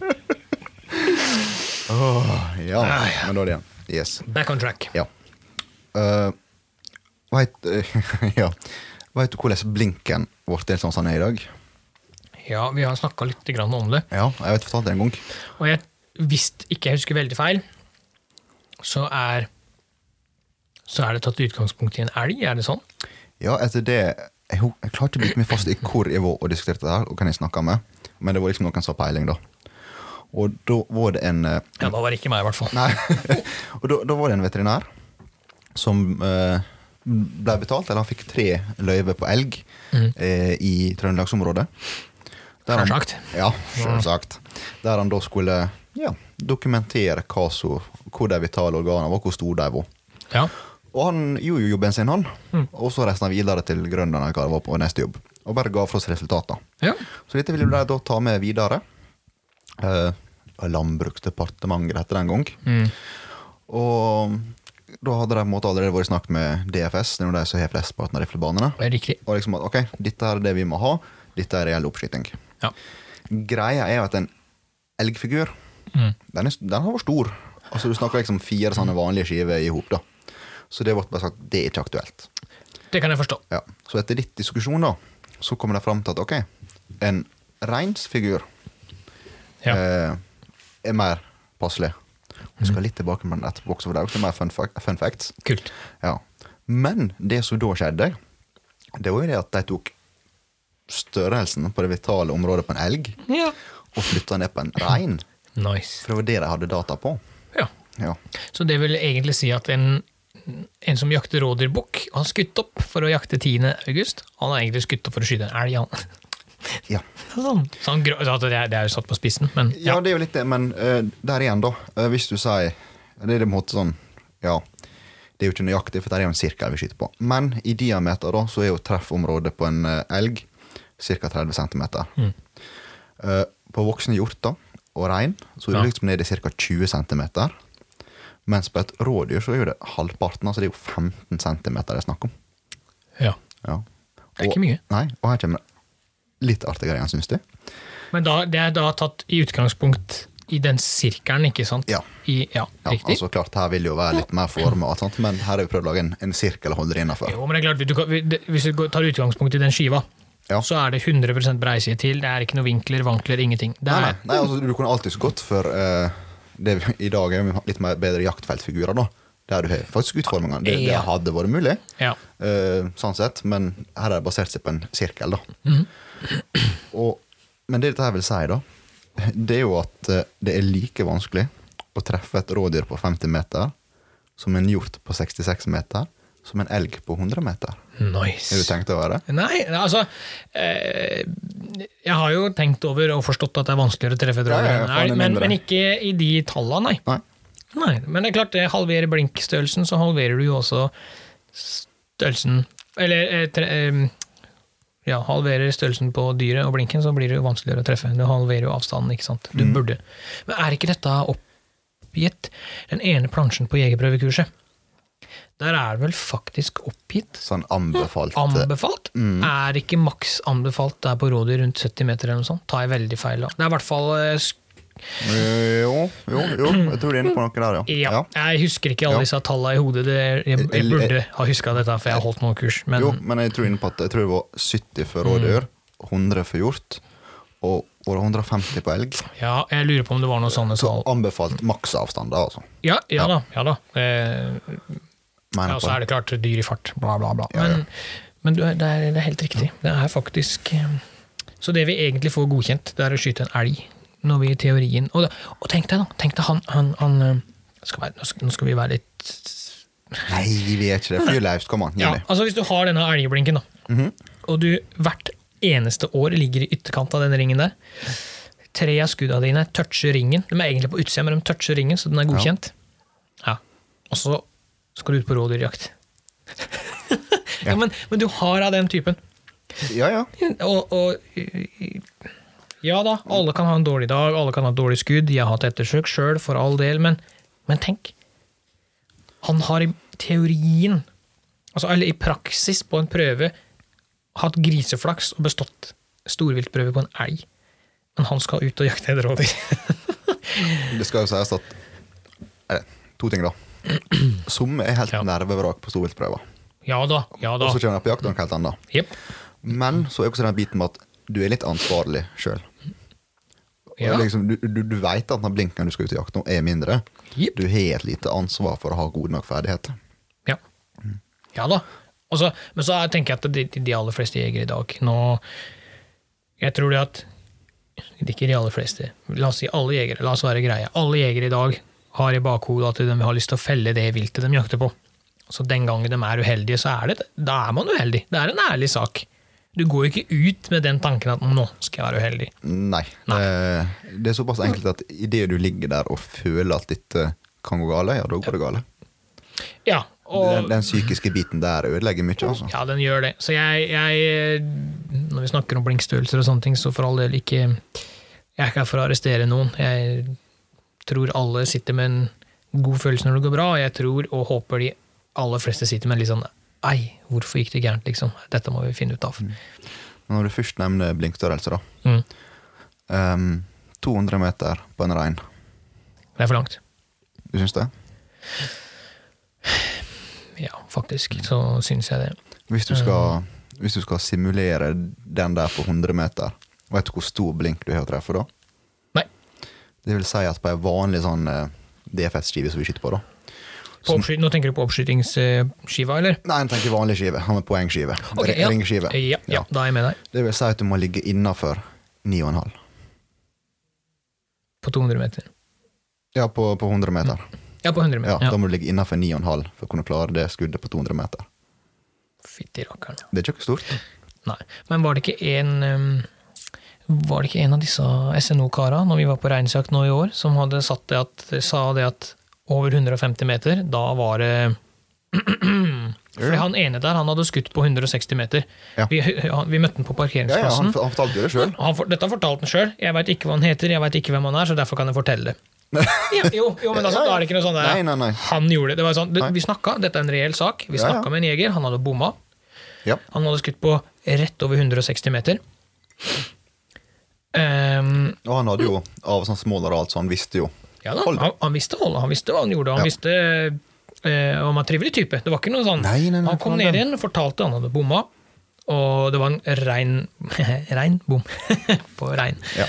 Speaker 2: Åh, ja,
Speaker 1: Ah,
Speaker 2: men da er det igjen. Yes.
Speaker 1: Back on track.
Speaker 2: Ja. Uh, Veit ja. Vet du hvordan blinken ble til sånn som den er i dag?
Speaker 1: Ja, vi har snakka litt grann om det.
Speaker 2: Ja, jeg vet fortalt det en gang.
Speaker 1: Og jeg, hvis ikke jeg husker veldig feil, så er så er det tatt utgangspunkt i en elg, er det sånn?
Speaker 2: Ja, etter det Jeg, ho- jeg klarte å bite meg fast i hvor jeg var og diskuterte det her, og hvem jeg snakka med. Men det var liksom noen som har peiling, da. Og da var det en eh,
Speaker 1: Ja, da var det ikke meg, i hvert fall.
Speaker 2: Nei. og da, da var det en veterinær som eh, ble betalt, eller han fikk tre løyver på elg eh, i Trøndelagsområdet. Der han-
Speaker 1: Selvsagt.
Speaker 2: Ja, selvsagt. Der han da skulle ja, dokumentere hva så, hvor de vitale organene var, hvor store de var.
Speaker 1: Ja.
Speaker 2: Og han gjorde jo jobben sin, han. Og så reiste han videre til Grønland eller hva det var på neste jobb, og bare ga fra seg resultatene.
Speaker 1: ja.
Speaker 2: Så dette ville de da ta med videre. Eh, Landbruksdepartementet heter det en gang. Og da hadde de på en måte allerede vært i snakk med DFS, det er jo de som har flesteparten av riflebanene.
Speaker 1: Det er riktig.
Speaker 2: Og liksom at ok, dette er det vi må ha, dette er reell oppskyting.
Speaker 1: Ja.
Speaker 2: Greia er jo at en elgfigur,
Speaker 1: Mm.
Speaker 2: den, er, den har vært stor. Altså Du snakker liksom fire sånne vanlige skiver i hop, da. Så det ble bare sagt det er ikke aktuelt.
Speaker 1: Det kan jeg forstå.
Speaker 2: Ja. Så etter litt diskusjon da, så kommer de fram til at ok, en reinsfigur
Speaker 1: Ja.
Speaker 2: eh, er mer passelig. Vi skal litt tilbake med den etterpå også, for det er også mer fun, fact, fun facts.
Speaker 1: Kult.
Speaker 2: Ja. Men det som da skjedde, det var jo det at de tok størrelsen på det vitale området på en elg
Speaker 1: Ja.
Speaker 2: og flytta ned på en rein.
Speaker 1: Nice.
Speaker 2: For det var det de hadde data på.
Speaker 1: Ja.
Speaker 2: Ja.
Speaker 1: Så det vil egentlig si at en, en som jakter rådyrbukk, har skutt opp for å jakte 10. august. Han har egentlig skutt opp for å skyte en elg, han.
Speaker 2: Ja.
Speaker 1: Sånn. Så han, grå- så at det, er, det er jo satt på spissen, men
Speaker 2: ja, det er jo litt det, men eh, der igjen, da. eh, hvis du sier Det er det på en måte sånn Ja, det er jo ikke nøyaktig, for det er jo en sirkel vi skyter på. Men i diameter da, så er jo treffområdet på en eh, elg ca. 30 cm.
Speaker 1: Mm.
Speaker 2: Eh, på voksne hjorter og rein så er
Speaker 1: Ja.
Speaker 2: det liksom nede i ca. 20 cm. Mens på et rådyr så er jo det halvparten, altså det er jo 15 cm det er snakk om.
Speaker 1: Ja.
Speaker 2: Ja.
Speaker 1: Det er ikke mye.
Speaker 2: Nei, og her kommer litt artigere igjen, syns du?
Speaker 1: Men da, det er da tatt i utgangspunkt i den sirkelen, ikke sant?
Speaker 2: Ja.
Speaker 1: I, ja,
Speaker 2: Ja,
Speaker 1: riktig.
Speaker 2: altså klart, Her vil det jo være litt mer forma, sant? men her har vi prøvd å lage en, en sirkel og holde det innafor.
Speaker 1: Jo, men det er klart, du kan- vi- det- Hvis du går- tar utgangspunkt i den skiva,
Speaker 2: Ja.
Speaker 1: så er det 100 breiside til. Det er ikke noen vinkler, vankler, ingenting. Det
Speaker 2: Nei, nei,
Speaker 1: er,
Speaker 2: nei, altså, du kunne alltids gått for eh, det vi, I dag er vi litt mer bedre jaktfeltfigurer, da. Der du har faktisk utformingene. Det, det
Speaker 1: Ja.
Speaker 2: hadde vært mulig,
Speaker 1: ja.
Speaker 2: eh, sånn sett, men her er det basert seg på en sirkel, da.
Speaker 1: Mhm.
Speaker 2: Og, men det dette her vil si, da, det er jo at eh, det er like vanskelig å treffe et rådyr på 50 meter som en hjort på 66 meter som en elg på 100 meter. Har du
Speaker 1: Nice.
Speaker 2: tenkt over det?
Speaker 1: Nei, altså eh, Jeg har jo tenkt over og forstått at det er vanskeligere å treffe
Speaker 2: Ja, ja, ja,
Speaker 1: dragen,
Speaker 2: faen, det er
Speaker 1: men,
Speaker 2: mindre.
Speaker 1: men ikke i de tallene, nei.
Speaker 2: Nei.
Speaker 1: Nei, men det er klart, det halverer blinkstørrelsen, så halverer du jo også størrelsen Eller eh, tre, eh, ja, halverer størrelsen på dyret og blinken, så blir det jo vanskeligere å treffe. Du halverer jo avstanden, ikke sant. Du burde. Men er ikke dette oppgitt? Den ene plansjen på jegerprøvekurset, der er det vel faktisk oppgitt?
Speaker 2: Sånn anbefalt eh,
Speaker 1: Anbefalt? Er ikke maks anbefalt der på rådyr rundt 70 meter eller noe sånt? Tar jeg veldig feil av. Det er i hvert fall eh, sk-
Speaker 2: Eh, Jo, jo, jo, jeg tror du er inne på noe der, ja.
Speaker 1: Ja. Jeg husker ikke alle
Speaker 2: Ja.
Speaker 1: disse tallene i hodet. Det, jeg, jeg
Speaker 2: Eller-
Speaker 1: burde ha huska dette, for jeg har holdt noen kurs. Men Mm.
Speaker 2: Jo, men jeg tror inne på at jeg tror det var 70 for rådyr, 100 for hjort og over 150 på elg.
Speaker 1: ja, jeg lurer på om det var noen sånne
Speaker 2: Så
Speaker 1: tall.
Speaker 2: anbefalt maksavstand, da, altså.
Speaker 1: Ja, ja da. ja da. Eh,
Speaker 2: Mener
Speaker 1: ja,
Speaker 2: på
Speaker 1: så er
Speaker 2: det.
Speaker 1: det klart dyr i fart, bla, bla, bla.
Speaker 2: Ja, ja.
Speaker 1: Men, men du, det, er, det er helt riktig. Det er faktisk eh, Så det vi egentlig får godkjent, det er å skyte en elg. Når vi i teorien Og, og tenk deg, da. Tenk deg han, han, han eh, skal være, nå, skal, nå skal vi være litt
Speaker 2: Nei, vi er ikke det. Fyrleif, kom an.
Speaker 1: Ja,
Speaker 2: Jimmy.
Speaker 1: altså Hvis du har denne elgblinken, da, og du hvert eneste år ligger i ytterkant av den ringen der Tre av skuddene dine toucher ringen. De er egentlig på utsida, men de toucher ringen, så den er godkjent. Ja. Og så skal du ut på rådyrjakt. ja, men, men du har av den typen.
Speaker 2: Ja, ja.
Speaker 1: Og, og ja da, alle kan ha en dårlig dag, alle kan ha et dårlig skudd. Jeg har hatt ettersøk sjøl, for all del, men, men tenk. Han har i teorien, altså, eller i praksis på en prøve, hatt griseflaks og bestått storviltprøve på en elg. Men han skal ut og jakte et rådyr.
Speaker 2: Det skal jo sies at Eller, to ting, da. Som er helt
Speaker 1: Ja.
Speaker 2: nervevrak på storviltprøver.
Speaker 1: ja da, ja
Speaker 2: Og
Speaker 1: da.
Speaker 2: så kommer de på jakt noe helt annet.
Speaker 1: Jepp.
Speaker 2: Men så er jo også den biten med at du er litt ansvarlig sjøl.
Speaker 1: Ja.
Speaker 2: Liksom, du du, du veit at den blinken du skal ut og jakte nå, er mindre.
Speaker 1: Jepp.
Speaker 2: Du har et lite ansvar for å ha gode nok ferdigheter.
Speaker 1: Ja. ja da. Og så- men så er- tenker jeg at de, de aller fleste jegere i dag nå Jeg tror det at det er Ikke de aller fleste. La oss si alle jegere. La oss være greie. Alle jegere i dag har i bakhodet at de har lyst til å felle det viltet de jakter på. Så den gangen de er uheldige, så er det da er man uheldig. Det er en ærlig sak. Du går ikke ut med den tanken at 'nå skal jeg være uheldig'.
Speaker 2: Nei. Eh, Det er såpass enkelt at idet du ligger der og føler at dette kan gå gale, ja, da går det gale.
Speaker 1: Ja, og
Speaker 2: Den, den psykiske biten der ødelegger mye, altså.
Speaker 1: Ja, den gjør det. Så jeg, jeg Når vi snakker om blinkstørrelser og sånne ting, så for all del ikke Jeg er ikke her for å arrestere noen. Jeg tror alle sitter med en god følelse når det går bra, og jeg tror og håper de aller fleste sitter med en litt sånn Ei, hvorfor gikk det gærent, liksom? Dette må vi finne ut av.
Speaker 2: Men Når du først nevner blinkstørrelse, da.
Speaker 1: Mm.
Speaker 2: Ehm, 200 meter på en rein.
Speaker 1: Det er for langt.
Speaker 2: Du syns det?
Speaker 1: Ja, faktisk. Så syns jeg det.
Speaker 2: Hvis du, skal,
Speaker 1: Eh.
Speaker 2: hvis du skal simulere den der på 100 meter, vet du hvor stor blink du har å treffe da?
Speaker 1: Nei.
Speaker 2: Det vil si at på ei vanlig sånn eh, DFS-skive som vi skyter på, da
Speaker 1: På oppsky- Nå tenker du på oppskytingsskiva, eller?
Speaker 2: Nei, en tenker vanlig skive. Han er poengskive.
Speaker 1: Ok,
Speaker 2: Ring- Ringskive.
Speaker 1: Ja, ja, da er jeg med deg.
Speaker 2: Det vil si at du må ligge innafor 9,5.
Speaker 1: På 200 meter.
Speaker 2: Ja, på, på 100 meter.
Speaker 1: Ja, på 100
Speaker 2: Ja,
Speaker 1: meter.
Speaker 2: Da
Speaker 1: Mm. Ja.
Speaker 2: må du ligge innafor 9,5 for å kunne klare det skuddet på 200 meter.
Speaker 1: Fytti rakkeren.
Speaker 2: Det er ikke noe stort.
Speaker 1: Nei. Men var det ikke en um, Var det ikke en av disse SNO-kara når vi var på reinsjakt nå i år, som hadde satt det at, sa det at over 150 meter, da var det Fordi han ene der, han hadde skutt på 160 meter.
Speaker 2: Ja.
Speaker 1: Vi, han, vi møtte han
Speaker 2: Ja, ja,
Speaker 1: på
Speaker 2: han,
Speaker 1: parkeringsplassen.
Speaker 2: han fortalte jo det sjøl.
Speaker 1: Han for, dette fortalte han sjøl. Jeg veit ikke hva han heter, jeg veit ikke hvem han er, så derfor kan jeg fortelle det. ja, jo, jo, men altså, da er det ikke noe sånn der
Speaker 2: Nei, nei, nei.
Speaker 1: Han gjorde det. det var sånn, det,
Speaker 2: Nei.
Speaker 1: vi snakka, dette er en reell sak. Vi
Speaker 2: Ja, ja.
Speaker 1: snakka med en jeger, han hadde bomma.
Speaker 2: Ja.
Speaker 1: Han hadde skutt på rett over 160 meter. Ehm,
Speaker 2: Og han hadde jo av sånn småler og alt, så han visste jo.
Speaker 1: ja da,
Speaker 2: Hold.
Speaker 1: han, han visste holdet, han visste hva han gjorde. Han
Speaker 2: Ja.
Speaker 1: visste eh, Han var en trivelig type. Det var ikke noe sånn
Speaker 2: Nei, nei, nei,
Speaker 1: Han kom
Speaker 2: faen,
Speaker 1: ned
Speaker 2: den-
Speaker 1: igjen, fortalte han hadde bomma, og det var en rein Rein bom på rein.
Speaker 2: Ja,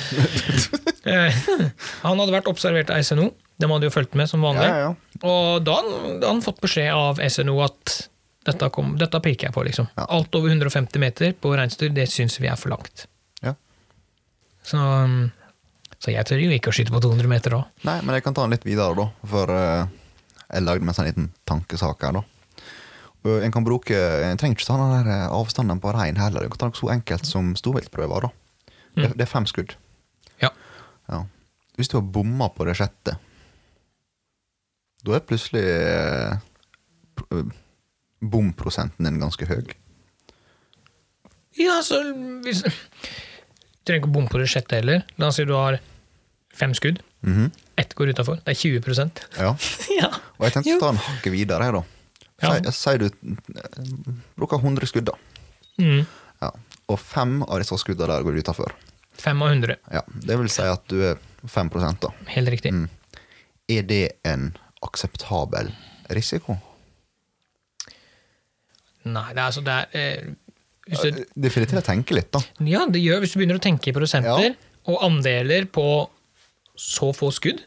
Speaker 1: Eh, han hadde vært observert av SNO. De hadde jo fulgt med som
Speaker 2: ja,
Speaker 1: vanlig.
Speaker 2: ja, ja.
Speaker 1: Og da hadde han fått beskjed av SNO at dette, kom, dette peker jeg på, liksom.
Speaker 2: Ja.
Speaker 1: Alt over 150 meter på reinsdyr, det syns vi er for langt.
Speaker 2: Ja.
Speaker 1: Så, um, så jeg tør jo ikke å skyte på 200 meter da.
Speaker 2: Nei, men jeg kan ta den litt videre, da. For eh, jeg lagde meg en sånn liten tankesak her, da. Og En kan bruke, en trenger ikke ta den der eh, avstanden på rein heller. Du kan ta noe så enkelt som storviltprøver. da. Det,
Speaker 1: Mm.
Speaker 2: det er fem skudd.
Speaker 1: Ja.
Speaker 2: Ja. Hvis du har bomma på det sjette, da er plutselig eh, pr- eh, bomprosenten din ganske høy.
Speaker 1: Ja, så hvis, Du trenger ikke å bomme på det sjette heller. La oss si du har fem skudd.
Speaker 2: Mhm.
Speaker 1: Ett går utafor. Det er 20
Speaker 2: Ja.
Speaker 1: ja.
Speaker 2: Og jeg tenkte
Speaker 1: Jo.
Speaker 2: å ta en hakket videre her, da.
Speaker 1: Ja.
Speaker 2: Si- Sier du eh, bruker 100 skudd, da.
Speaker 1: Mm.
Speaker 2: Ja. Og fem av disse skuddene der går utafor.
Speaker 1: Fem av 100.
Speaker 2: Ja, det vil si at du er 5 da.
Speaker 1: Helt riktig.
Speaker 2: Mm. Er det en akseptabel risiko?
Speaker 1: Nei, det er altså det er, eh, hvis du,
Speaker 2: Det får deg til å tenke litt, da.
Speaker 1: Ja, det gjør hvis du begynner å tenke i prosenter
Speaker 2: Ja.
Speaker 1: og andeler på så få skudd.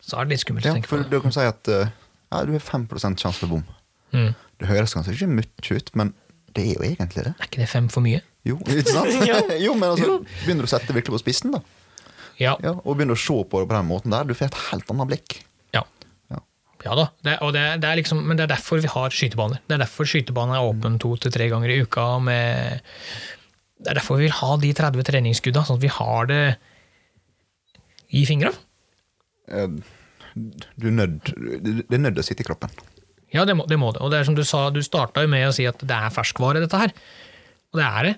Speaker 1: Så er det litt skummelt
Speaker 2: Ja,
Speaker 1: å tenke på.
Speaker 2: for
Speaker 1: det.
Speaker 2: du kan si at eh, ja, du har 5 sjanse for bom.
Speaker 1: Mm.
Speaker 2: Det høres kanskje ikke mye ut, men det er jo egentlig det.
Speaker 1: Er ikke det fem for mye?
Speaker 2: Jo, ikke sant?
Speaker 1: Ja.
Speaker 2: jo men altså,
Speaker 1: Jo.
Speaker 2: begynner du å sette det virkelig på spissen, da,
Speaker 1: Ja.
Speaker 2: ja, og begynner å se på det på den måten der, du får et helt annet blikk.
Speaker 1: Ja,
Speaker 2: Ja.
Speaker 1: ja da. Det, og det, det er liksom, men det er derfor vi har skytebaner. Det er derfor skytebanen er åpen to til tre ganger i uka. Med, det er derfor vi vil ha de 30 treningsskudda, sånn at vi har det i fingra.
Speaker 2: Eh, Du er nødt, det er nødt til å sitte i kroppen.
Speaker 1: Ja, det må, det må det. Og det er som du sa, du starta jo med å si at det er ferskvare, dette her. Og det er det.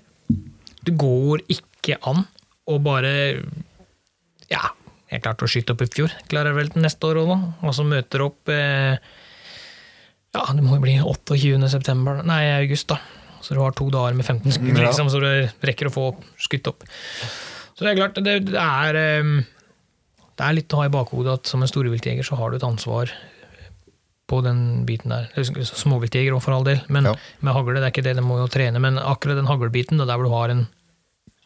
Speaker 1: Det går ikke an å bare Ja, jeg klarte å skyte opp i fjor. Klarer jeg vel til neste år òg, da. Og så møter opp eh, Ja, det må jo bli 28. september Nei, august, da. Så du har to dager med 15 skudd,
Speaker 2: Ja.
Speaker 1: liksom, så du rekker å få skutt opp. Så det er klart, det, det er eh, det er litt å ha i bakhodet at som en storviltjeger så har du et ansvar på den biten der. Jeg husker- Småviltjeger òg, for all del, men
Speaker 2: Ja.
Speaker 1: med hagle det er ikke det, de må jo trene. Men akkurat den haglbiten, det er der hvor du har en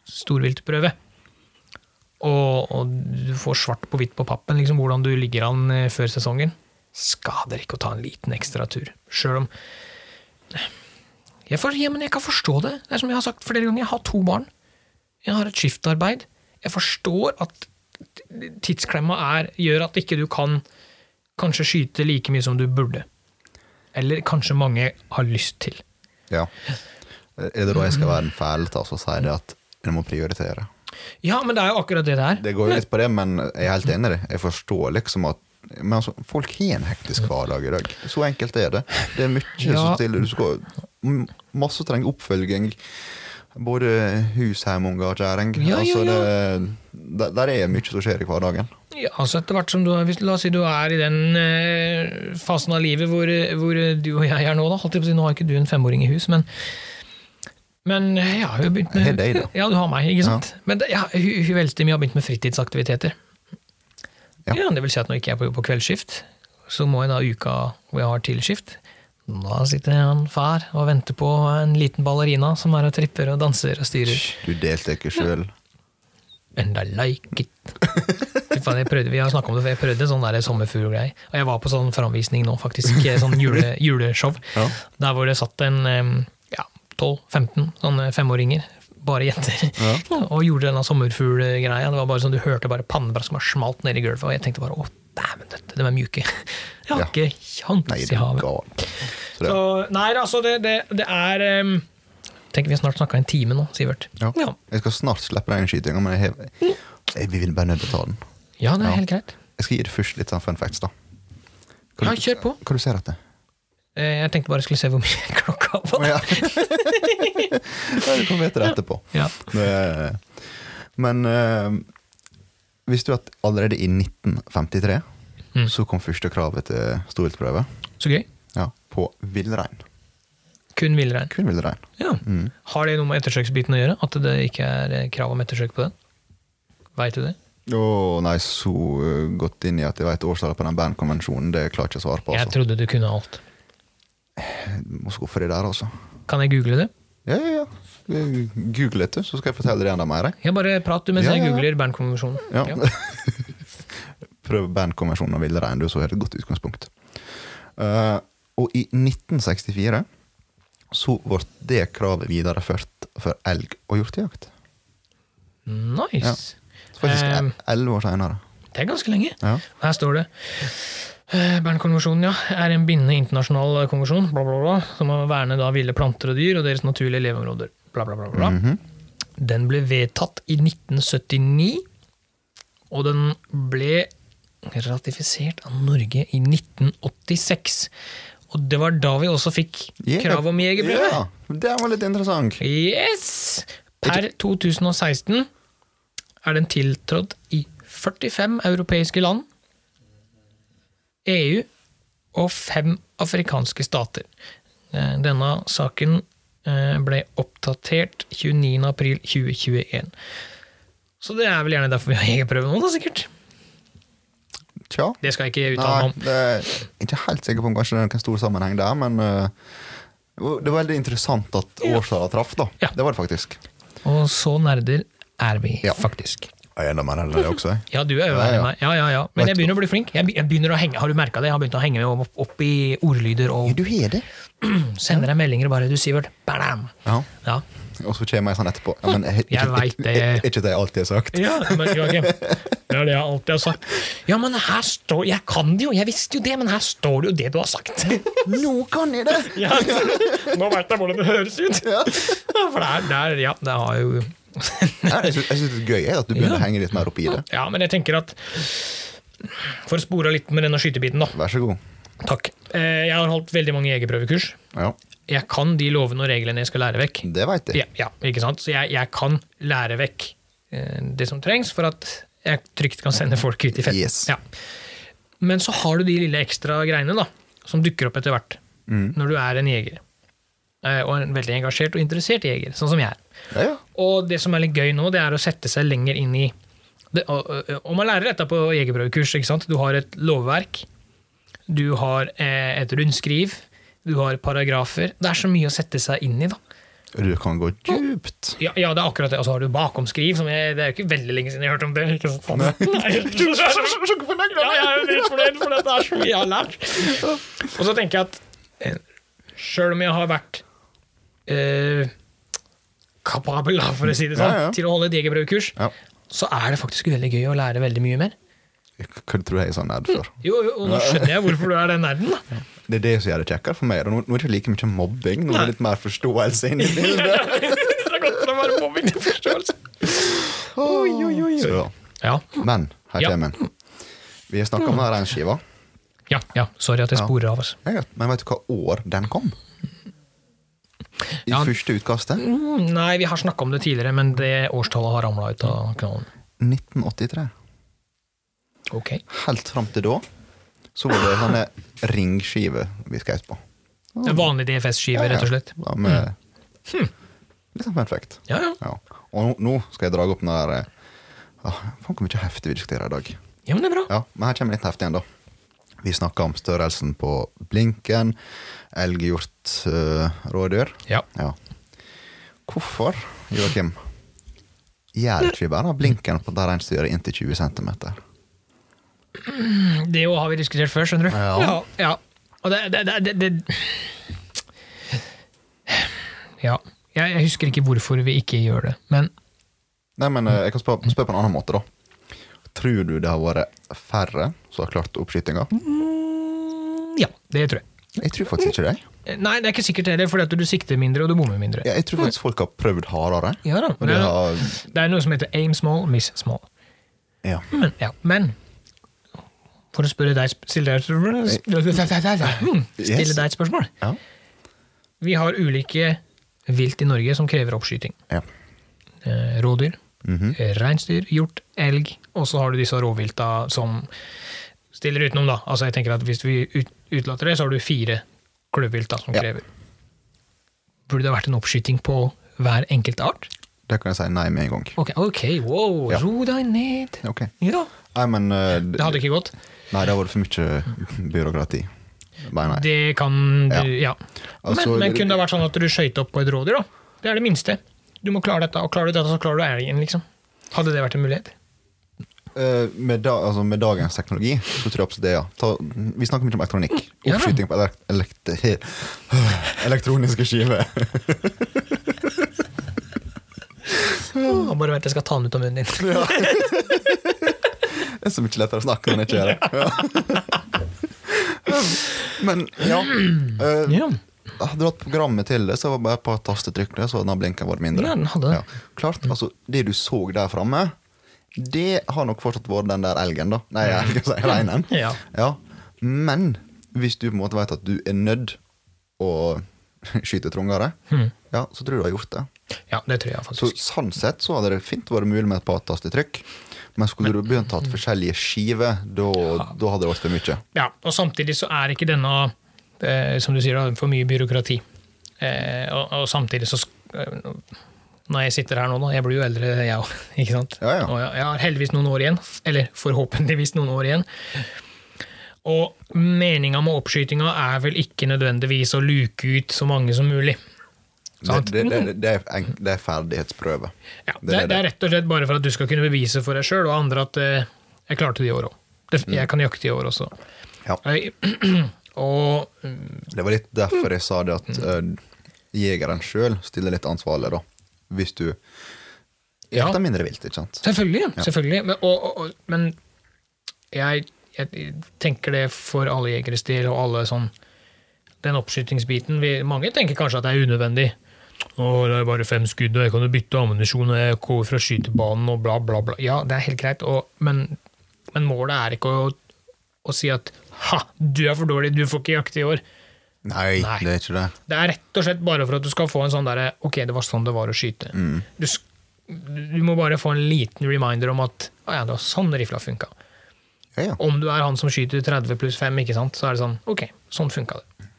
Speaker 1: storviltprøve, og, og du får svart på hvitt på pappen liksom, hvordan du ligger an eh, før sesongen, skader ikke å ta en liten ekstra tur. Sjøl om jeg, for, ja, men jeg kan forstå det. Det er som jeg har sagt flere ganger, jeg har to barn. Jeg har et skiftarbeid. Jeg forstår at tidsklemma er, gjør at ikke du kan kanskje skyte like mye som du burde. Eller kanskje mange har lyst til.
Speaker 2: Ja. Er det da jeg skal være en fæl til å si det at en må prioritere?
Speaker 1: Ja, men det er jo akkurat det det er.
Speaker 2: Det går jo litt på det, men jeg er helt enig i det. Jeg forstår liksom at men altså, Folk har en hektisk hverdag i dag. Så enkelt er det. Det er mye
Speaker 1: Ja.
Speaker 2: som til. Du skal, m- masse trenger oppfølging. Både hus, hjem, unger, kjæring.
Speaker 1: Ja, ja,
Speaker 2: altså,
Speaker 1: ja.
Speaker 2: Det, der, der er mye som skjer i hverdagen.
Speaker 1: Ja, altså etter hvert som du, hvis, La oss si du er i den eh, fasen av livet hvor, hvor du og jeg er nå. da, holdt jeg på å si, Nå har ikke du en femåring i hus, men, men jeg har jo begynt med
Speaker 2: Jeg har deg, da.
Speaker 1: Ja, du har meg, ikke sant? Men det- ja, hun, hun eldste mi har begynt med fritidsaktiviteter.
Speaker 2: Ja.
Speaker 1: Ja. Det vil si at når ikke jeg er på, på kveldsskift, så må jeg da uka hvor jeg har tilskift Da sitter han far og venter på en liten ballerina som er og tripper og danser og styrer.
Speaker 2: Du delte ikke sjøl.
Speaker 1: And I like it. Fy faen, jeg prøvde, vi har snakket om det før, jeg prøvde sånn der sommerfuglgreie. Og jeg var på sånn framvisning nå, faktisk. Sånn jule, juleshow.
Speaker 2: Ja.
Speaker 1: Der hvor det satt en em, ja, 12-15 sånne femåringer, bare jenter, og gjorde denne sommerfuglgreia. Det var bare sånn, Du hørte bare pannebrask som var smalt ned i gulvet, og jeg tenkte bare å, dæven døtte, de er mjuke. Jeg har
Speaker 2: Ja.
Speaker 1: ikke
Speaker 2: Nei,
Speaker 1: kjangs
Speaker 2: det
Speaker 1: i
Speaker 2: er
Speaker 1: havet.
Speaker 2: galt. Så det,
Speaker 1: Så, nei, altså, det, det, det er em, Tenk, vi har snart snakka en time nå, Sivert.
Speaker 2: ja.
Speaker 1: ja. Mm.
Speaker 2: Jeg skal snart slippe den skytinga, men jeg, har- jeg vil bare nødt til å ta den.
Speaker 1: Ja, det er
Speaker 2: Ja.
Speaker 1: helt greit.
Speaker 2: Jeg skal gi det først litt sånn fun facts, da.
Speaker 1: Ja, kjør på.
Speaker 2: Hva du ser etter?
Speaker 1: Eh, Jeg tenkte bare skulle se hvor mye klokka var.
Speaker 2: Ja. du kan vite det etterpå.
Speaker 1: Ja.
Speaker 2: Det- Men eh, visste du at allerede i 1953
Speaker 1: Mm.
Speaker 2: så kom første kravet til storviltprøve
Speaker 1: Så gøy.
Speaker 2: ja, på villrein? Mm.
Speaker 1: Kun villrein.
Speaker 2: Kun villrein.
Speaker 1: Ja. Har det noe med ettersøksbiten å gjøre? At det ikke er eh, krav om ettersøk på den? Veit du det?
Speaker 2: Å nei, så uh, gått inn i at jeg veit årstallet på den bandkonvensjonen, det klarer jeg ikke å svare på.
Speaker 1: Jeg
Speaker 2: Altså.
Speaker 1: trodde du kunne alt.
Speaker 2: Må så gå for det der, altså.
Speaker 1: Kan jeg google det?
Speaker 2: Ja, ja, ja. Google litt, du, så skal jeg fortelle deg enda mer. jeg.
Speaker 1: Ja, bare prat du mens
Speaker 2: Ja, ja,
Speaker 1: jeg
Speaker 2: ja.
Speaker 1: googler Bernkonvensjonen.
Speaker 2: Ja. Prøv bandkonvensjonen og villrein, du, så har du et godt utgangspunkt. Eh, og i 1964 så ble det kravet videreført for elg og hjortejakt.
Speaker 1: Nice.
Speaker 2: Så Faktisk
Speaker 1: Ehm.
Speaker 2: el- elleve år seinere.
Speaker 1: Det er ganske lenge.
Speaker 2: Ja.
Speaker 1: Her står det eh, Bernkonvensjonen ja, er en bindende internasjonal konvensjon bla, bla, bla, som må verne da ville planter og dyr og deres naturlige leveområder. Bla, bla, bla, bla. Den ble vedtatt i 1979, og den ble ratifisert av Norge i 1986. Og det var da vi også fikk krav om jegerbrevet.
Speaker 2: Ja, den var litt interessant.
Speaker 1: Yes! Per 2016 er den tiltrådt i 45 europeiske land, EU og fem afrikanske stater. Eh, Denne saken eh, ble oppdatert 29.4.2021. Så det er vel gjerne derfor vi har jegerprøve nå, da, sikkert.
Speaker 2: Tja.
Speaker 1: Det skal jeg ikke uttale
Speaker 2: Nei,
Speaker 1: meg om.
Speaker 2: det er jeg ikke helt sikker på om kanskje det er noen stor sammenheng der, men eh, det var veldig interessant at årstallet traff, da.
Speaker 1: Ja.
Speaker 2: Det var det faktisk.
Speaker 1: Og så nerder er vi,
Speaker 2: Ja.
Speaker 1: faktisk.
Speaker 2: Jeg er enda mer eldre enn det også, jeg.
Speaker 1: Ja, du er jo
Speaker 2: Ja,
Speaker 1: verre
Speaker 2: ja.
Speaker 1: enn meg. Ja, ja, ja. Men
Speaker 2: Vet
Speaker 1: jeg begynner å bli flink. Jeg be- jeg begynner å henge, har du merka det? Jeg har begynt å henge meg opp, opp i ordlyder og
Speaker 2: Du har det?
Speaker 1: Sender deg meldinger og bare 'du, Sivert'. Badam.
Speaker 2: Ja.
Speaker 1: Ja.
Speaker 2: Og så kommer jeg sånn etterpå. Ja, men, jeg,
Speaker 1: Jeg
Speaker 2: ikke-
Speaker 1: vet det.
Speaker 2: ikke- Ikke det jeg alltid har sagt.
Speaker 1: ja, men Joakim, det er det jeg alltid har sagt. Ja, men her står Jeg kan det jo, jeg visste jo det, men her står det jo det du har sagt.
Speaker 2: Nå kan jeg det!
Speaker 1: Ja, nå veit jeg hvordan det høres ut. Ja, For det er der, ja, det har jo
Speaker 2: Ja, Jeg syns jeg syns det er gøy jeg, at du begynner
Speaker 1: Ja.
Speaker 2: å henge litt mer opp i det.
Speaker 1: Ja, men jeg tenker at For å spore av litt med denne skytebiten, da.
Speaker 2: Vær så god.
Speaker 1: Takk. Eh, Jeg har holdt veldig mange jegerprøvekurs.
Speaker 2: Ja,
Speaker 1: Jeg kan de lovene og reglene jeg skal lære vekk.
Speaker 2: det veit jeg.
Speaker 1: Ja, ja, ikke sant? Så jeg, jeg kan lære vekk eh, det som trengs for at jeg trygt kan sende folk ut i felten.
Speaker 2: Yes.
Speaker 1: Ja. Men så har du de lille ekstra greiene da, som dukker opp etter hvert, når du er en jeger. Eh, Og en veldig engasjert og interessert jeger, sånn som jeg er.
Speaker 2: Ja, ja.
Speaker 1: Og det som er litt gøy nå, det er å sette seg lenger inn i det, og, og- og man lærer dette på jegerprøvekurs. ikke sant? Du har et lovverk, du har eh, et rundskriv, du har paragrafer. Det er så mye å sette seg inn i, da.
Speaker 2: Du kan gå djupt.
Speaker 1: Ja, ja, det er akkurat det. Og så har du bakomskriv. Som jeg, det er jo ikke veldig lenge siden jeg hørte om det. Ikke sant? Nei. ja, jeg er jo helt fornøyd, for dette er så mye jeg har lært. Og så tenker jeg at eh, sjøl om jeg har vært eh, kapabel, da, for å si det sånn,
Speaker 2: Ja, ja.
Speaker 1: til å holde et jegerprøvekurs,
Speaker 2: Ja.
Speaker 1: så er det faktisk veldig gøy å lære veldig mye mer.
Speaker 2: Hva tror du jeg er sånn nerd for?
Speaker 1: Jo, jo, og nå skjønner jeg hvorfor du er den nerden, da.
Speaker 2: Det er det som gjør det kjekkere for meg. da. Nå nå er det ikke like mye mobbing, nå er det litt mer forståelse inni bildet.
Speaker 1: det er godt for å være mobbing til forståelse.
Speaker 2: Oi, oi, oi, oi. Så, ja.
Speaker 1: Ja,
Speaker 2: Men her
Speaker 1: Ja.
Speaker 2: kommer den. Vi har snakka om den reinskiva.
Speaker 1: ja, ja. Sorry at jeg sporer av. Altså.
Speaker 2: Ja, ja. Men vet du hva år den kom? I
Speaker 1: Ja.
Speaker 2: første utkastet?
Speaker 1: Mm, Nei, vi har snakka om det tidligere, men det årstallet har ramla ut av knallen.
Speaker 2: 1983.
Speaker 1: Ok.
Speaker 2: Helt fram til da så var det sånne ringskiver vi skjøt på.
Speaker 1: En vanlig DFS-skive, rett og slett. Mm. Hm.
Speaker 2: Ja, med, Litt sånn fun fact.
Speaker 1: Ja, ja.
Speaker 2: Ja. Og nå, nå skal jeg dra opp den der eh, ah, Faen, hvor mye heftig vi diskuterer i dag.
Speaker 1: ja, men det er bra.
Speaker 2: Ja, Men her kommer litt heftig igjen, da. Vi snakker om størrelsen på blinken, elg, hjort, eh, rådyr.
Speaker 1: Ja.
Speaker 2: Ja. Hvorfor, Joakim, gjør ikke vi bare blinken på det reinsdyret inntil 20 cm?
Speaker 1: Det jo har vi diskutert før, skjønner du.
Speaker 2: Ja.
Speaker 1: ja, ja. Og det, det, det, det, det. Ja. Jeg, jeg husker ikke hvorfor vi ikke gjør det, men
Speaker 2: Nei, men eh, jeg kan spørre spør på en annen måte, da. Tror du det har vært færre som har klart oppskytinga?
Speaker 1: ja, det tror jeg.
Speaker 2: Jeg tror faktisk ikke det.
Speaker 1: Nei, det er ikke sikkert heller, fordi at du sikter mindre og du bommer mindre.
Speaker 2: Jeg jeg tror faktisk folk har prøvd hardere.
Speaker 1: Ja da.
Speaker 2: Og
Speaker 1: Det
Speaker 2: de
Speaker 1: er,
Speaker 2: har
Speaker 1: det er noe som heter aim small, miss small.
Speaker 2: Ja.
Speaker 1: Men, ja, men for å spørre deg, sp- stille deg et spørsmål,
Speaker 2: Yes.
Speaker 1: Hmm, stille deg et spørsmål.
Speaker 2: Ja.
Speaker 1: Vi har ulike vilt i Norge som krever oppskyting.
Speaker 2: ja.
Speaker 1: Eh, Rådyr,
Speaker 2: Mhm.
Speaker 1: eh, reinsdyr, hjort, elg, og så har du disse rovvilta som stiller utenom. da. Altså jeg tenker at Hvis vi ut, utelater det, så har du fire kløvvilt da, som
Speaker 2: Ja.
Speaker 1: krever. burde det vært en oppskyting på hver enkelt art?
Speaker 2: Det kan jeg si nei med en gang.
Speaker 1: Ok, ok, wow,
Speaker 2: Ja.
Speaker 1: ro deg ned.
Speaker 2: Ok.
Speaker 1: Ja,
Speaker 2: Nei, men eh, d-
Speaker 1: det hadde ikke gått.
Speaker 2: Nei, det har vært for mye byråkrati. Nei, nei.
Speaker 1: Det kan du, ja. Men,
Speaker 2: Altså,
Speaker 1: men kunne det vært sånn at du skøyt opp på et rådyr, da? Det er det minste. Du må klare dette, og klarer du dette, så klarer du elgen, liksom. Hadde det vært en mulighet?
Speaker 2: Eh, med, da, altså, med dagens teknologi så tror jeg absolutt det, ja. Ta, vi snakker mye om elektronikk.
Speaker 1: Ja da.
Speaker 2: Oppskyting på elekt elekt elektroniske skiver.
Speaker 1: Åh, bare vent, jeg skal ta den ut av munnen din.
Speaker 2: Det er så mye lettere å snakke når en ikke gjør det. Ja. Men ja. eh,
Speaker 1: Ja.
Speaker 2: Hadde du hatt programmet til det, så var det bare et par tastetrykk, så hadde den blinken vært mindre.
Speaker 1: Ja, den hadde det.
Speaker 2: Ja. Klart, altså, Det du så der framme, det har nok fortsatt vært den der elgen, da. Nei, elgen, sier jeg, reinen.
Speaker 1: Ja.
Speaker 2: Ja. Men hvis du på en måte vet at du er nødt å skyte trungere,
Speaker 1: Hmm.
Speaker 2: ja, så tror jeg du har gjort det.
Speaker 1: ja, det tror jeg
Speaker 2: Så
Speaker 1: faktisk.
Speaker 2: sånn sett så hadde det fint vært mulig med et par tastetrykk. Men skulle du begynt å ha forskjellige skiver, da da hadde det vært for mye.
Speaker 1: Ja, og samtidig så er ikke denne, eh, som du sier, da, for mye byråkrati. Eh, og, og samtidig så sk- eh, Når jeg sitter her nå, da, jeg blir jo eldre, jeg òg, ikke sant?
Speaker 2: Ja, ja.
Speaker 1: Og jeg, jeg har heldigvis noen år igjen. f- Eller forhåpentligvis noen år igjen. Og meninga med oppskytinga er vel ikke nødvendigvis å luke ut så mange som mulig.
Speaker 2: Det,
Speaker 1: Sant.
Speaker 2: det, det, det, er, en- det er ferdighetsprøve.
Speaker 1: Ja,
Speaker 2: Det
Speaker 1: det,
Speaker 2: er
Speaker 1: er- det er rett og slett bare for at du skal kunne bevise for deg sjøl og andre at eh, jeg klarte det i år òg. Jeg kan jakte i år også.
Speaker 2: Mm. Ja.
Speaker 1: Jeg- Og
Speaker 2: Det var litt derfor jeg sa det at
Speaker 1: Mm.
Speaker 2: eh, jegeren sjøl stiller litt ansvarlig, da. Hvis du
Speaker 1: Ja.
Speaker 2: jakter mindre vilt, ikke sant.
Speaker 1: Selvfølgelig. selvfølgelig. Men, og, og, og, men jeg, jeg tenker det for alle jegeres del, og alle sånn Den oppskytingsbiten vi, Mange tenker kanskje at det er unødvendig. Å, det er bare fem skudd, og jeg kan jo bytte ammunisjon, og jeg kommer fra skytebanen, og bla, bla, bla. Ja, det er helt greit, og, men, men målet er ikke å, å si at ha, du er for dårlig, du får ikke jakte i år.
Speaker 2: Nei,
Speaker 1: Nei.
Speaker 2: det er ikke det.
Speaker 1: Det er rett og slett bare for at du skal få en sånn derre Ok, det var sånn det var å skyte. Du, sk- du må bare få en liten reminder om at ah, ja, det var sånn rifla funka.
Speaker 2: Ja, ja.
Speaker 1: Om du er han som skyter 30 pluss 5, ikke sant, så er det sånn Ok, sånn funka det.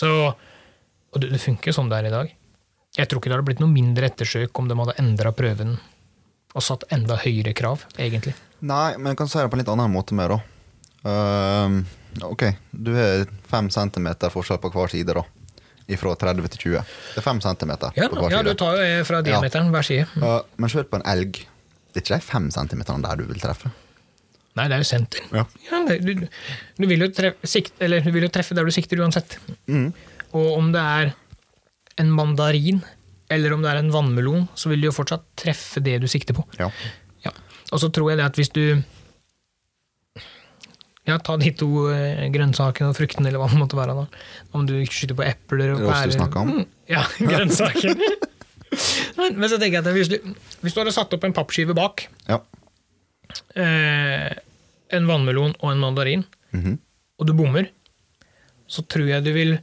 Speaker 1: Så Og det, det funker jo sånn det er i dag. Jeg tror ikke det hadde blitt noe mindre ettersøk om de hadde endra prøven og satt enda høyere krav, egentlig.
Speaker 2: Nei, men jeg kan si det på en litt annen måte mer, da. Ehm, ok, du har fem centimeter forskjell på hver side, da. Ifra 30 til 20. Det er fem centimeter
Speaker 1: Ja,
Speaker 2: på hver
Speaker 1: ja du
Speaker 2: side.
Speaker 1: tar jo eh, fra
Speaker 2: Ja.
Speaker 1: diameteren hver side.
Speaker 2: Eh, men sjøl på en elg, det er ikke de fem centimeterne der du vil treffe.
Speaker 1: Nei, det er jo senter.
Speaker 2: Ja.
Speaker 1: Ja, det- du, du, vil jo treffe, sikt, eller, du vil jo treffe der du sikter uansett.
Speaker 2: Mm,
Speaker 1: Og om det er en mandarin eller om det er en vannmelon, så vil du jo fortsatt treffe det du sikter på.
Speaker 2: ja.
Speaker 1: Ja. Og så tror jeg det at hvis du ja, Ta de to eh, grønnsakene og fruktene, eller hva det måtte være. da. Om du skyter på epler og
Speaker 2: Det er oss du
Speaker 1: pærer.
Speaker 2: snakker om.
Speaker 1: Mm, ja, grønnsaker. men, men så tenker jeg at hvis du, hvis du hadde satt opp en pappskive bak,
Speaker 2: ja.
Speaker 1: eh, en vannmelon og en mandarin,
Speaker 2: Mhm.
Speaker 1: og du bommer, så tror jeg du vil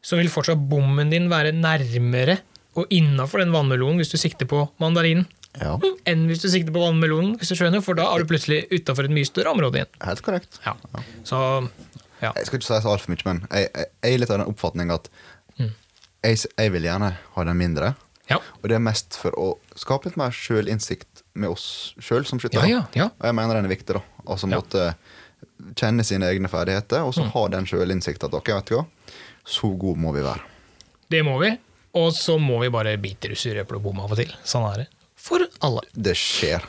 Speaker 1: Så vil fortsatt bommen din være nærmere og innafor den vannmelonen hvis du sikter på mandarinen,
Speaker 2: ja.
Speaker 1: enn hvis du sikter på vannmelonen, hvis du skjønner, for da er du plutselig utafor et mye større område igjen.
Speaker 2: Helt korrekt.
Speaker 1: Ja. Så ja.
Speaker 2: Jeg skal ikke si så altfor mye, men jeg, jeg, jeg er litt av den oppfatning at
Speaker 1: Mm.
Speaker 2: jeg, s- jeg vil gjerne ha den mindre.
Speaker 1: Ja.
Speaker 2: Og det er mest for å skape litt mer sjølinnsikt med oss sjøl som skyttere.
Speaker 1: Ja, ja, ja.
Speaker 2: Og jeg mener den er viktig, da. Altså
Speaker 1: Ja. Mm.
Speaker 2: måtte kjenne sine egne ferdigheter, og så ha den sjølinnsikten at ok, vet du hva, så god må vi være.
Speaker 1: Det må vi. Og så må vi bare bite russerøpel og bomme av og til. Sånn er det. For alle.
Speaker 2: Det skjer.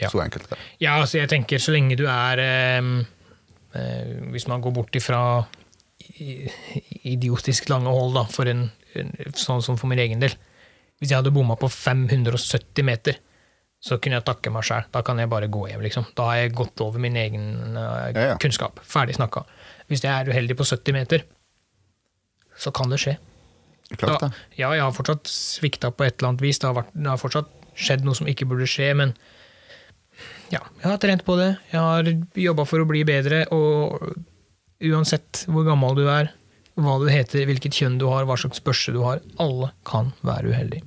Speaker 1: Ja.
Speaker 2: Så enkelt er det.
Speaker 1: Ja, altså jeg tenker så lenge du er eh, eh, Hvis man går bort ifra i- idiotisk lange hold, da, for en, en, sånn som for min egen del Hvis jeg hadde bomma på 570 meter, så kunne jeg takke meg sjæl. Da kan jeg bare gå hjem, liksom. Da har jeg gått over min egen eh,
Speaker 2: Ja, ja.
Speaker 1: kunnskap. Ferdig snakka. Hvis jeg er uheldig på 70 meter, så kan det skje.
Speaker 2: Klart
Speaker 1: Da-
Speaker 2: det.
Speaker 1: Ja, jeg har fortsatt svikta på et eller annet vis. Det har, vært, det har fortsatt skjedd noe som ikke burde skje, men ja, jeg har trent på det. Jeg har jobba for å bli bedre, og uansett hvor gammel du er, hva du heter, hvilket kjønn du har, hva slags børse du har, alle kan være uheldige.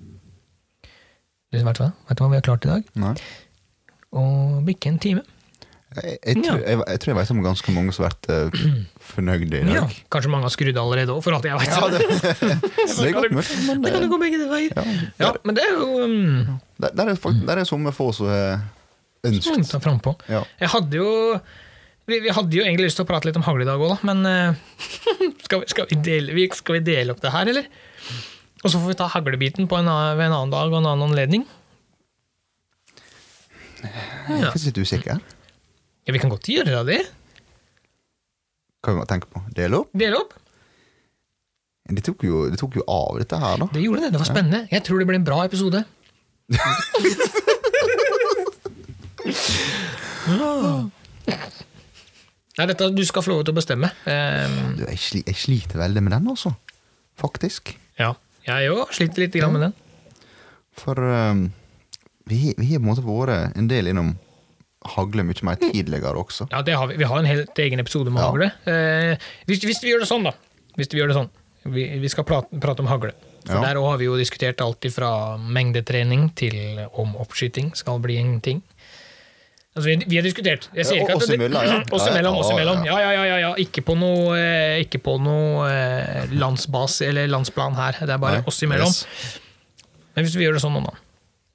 Speaker 1: Du, Vet du hva? Vet du hva vi har klart i dag?
Speaker 2: Nei.
Speaker 1: Å bikke en time.
Speaker 2: Jeg, jeg, tror, jeg, jeg tror jeg vet om ganske mange som har vært eh, fornøyde i dag.
Speaker 1: Ja, kanskje mange har skrudd allerede òg, for alt jeg veit.
Speaker 2: Ja, det, det er godt mulig. men
Speaker 1: det kan jo
Speaker 2: det-
Speaker 1: gå begge veier.
Speaker 2: Ja,
Speaker 1: Ja, men det er jo um,
Speaker 2: Der, der er fakt- der er somme få som har ønsket.
Speaker 1: ta frampå.
Speaker 2: eh, Ja.
Speaker 1: Jeg hadde jo vi, vi hadde jo egentlig lyst til å prate litt om hagl i dag òg, da, men eh, skal, vi, skal, vi dele, vi, skal vi dele opp det her, eller? Og så får vi ta haglebiten på en, annen- ved en annen dag og en annen anledning.
Speaker 2: Jeg er faktisk litt usikker.
Speaker 1: Ja, Vi kan godt gjøre det.
Speaker 2: Hva kan man tenke på? Dele opp?
Speaker 1: Dele opp.
Speaker 2: Det tok jo, det tok jo av, dette her, da.
Speaker 1: Det gjorde det. Det var spennende. Jeg tror det ble en bra episode. Nei, dette, du skal få lov til å bestemme. Ehm,
Speaker 2: Du, jeg, sli, jeg sliter veldig med den, altså. Faktisk.
Speaker 1: ja. Jeg òg sliter litt grann med den.
Speaker 2: For ehm, vi, vi har på en måte vært en del innom hagle mye mer
Speaker 1: Mm.
Speaker 2: tidligere også.
Speaker 1: Ja, det har vi. vi har en helt egen episode med
Speaker 2: Ja.
Speaker 1: hagle. Eh, hvis, hvis vi gjør det sånn, da. Hvis vi gjør det sånn. Vi, vi skal prate, prate om hagle. For
Speaker 2: Ja.
Speaker 1: Der også har vi jo diskutert alt fra mengdetrening til om oppskyting skal bli en ting. Altså, vi, vi har diskutert. Jeg sier
Speaker 2: Ja,
Speaker 1: ikke at
Speaker 2: oss
Speaker 1: det-
Speaker 2: imellom, ja.
Speaker 1: Oss imellom, oss
Speaker 2: Ja, ja, ja.
Speaker 1: imellom. Ja, ja, ja. ja, ja. Ikke på noe, eh, ikke på noe eh, landsbas eller landsplan her. Det er bare
Speaker 2: Nei,
Speaker 1: oss imellom.
Speaker 2: yes.
Speaker 1: Men hvis vi gjør det sånn nå, da.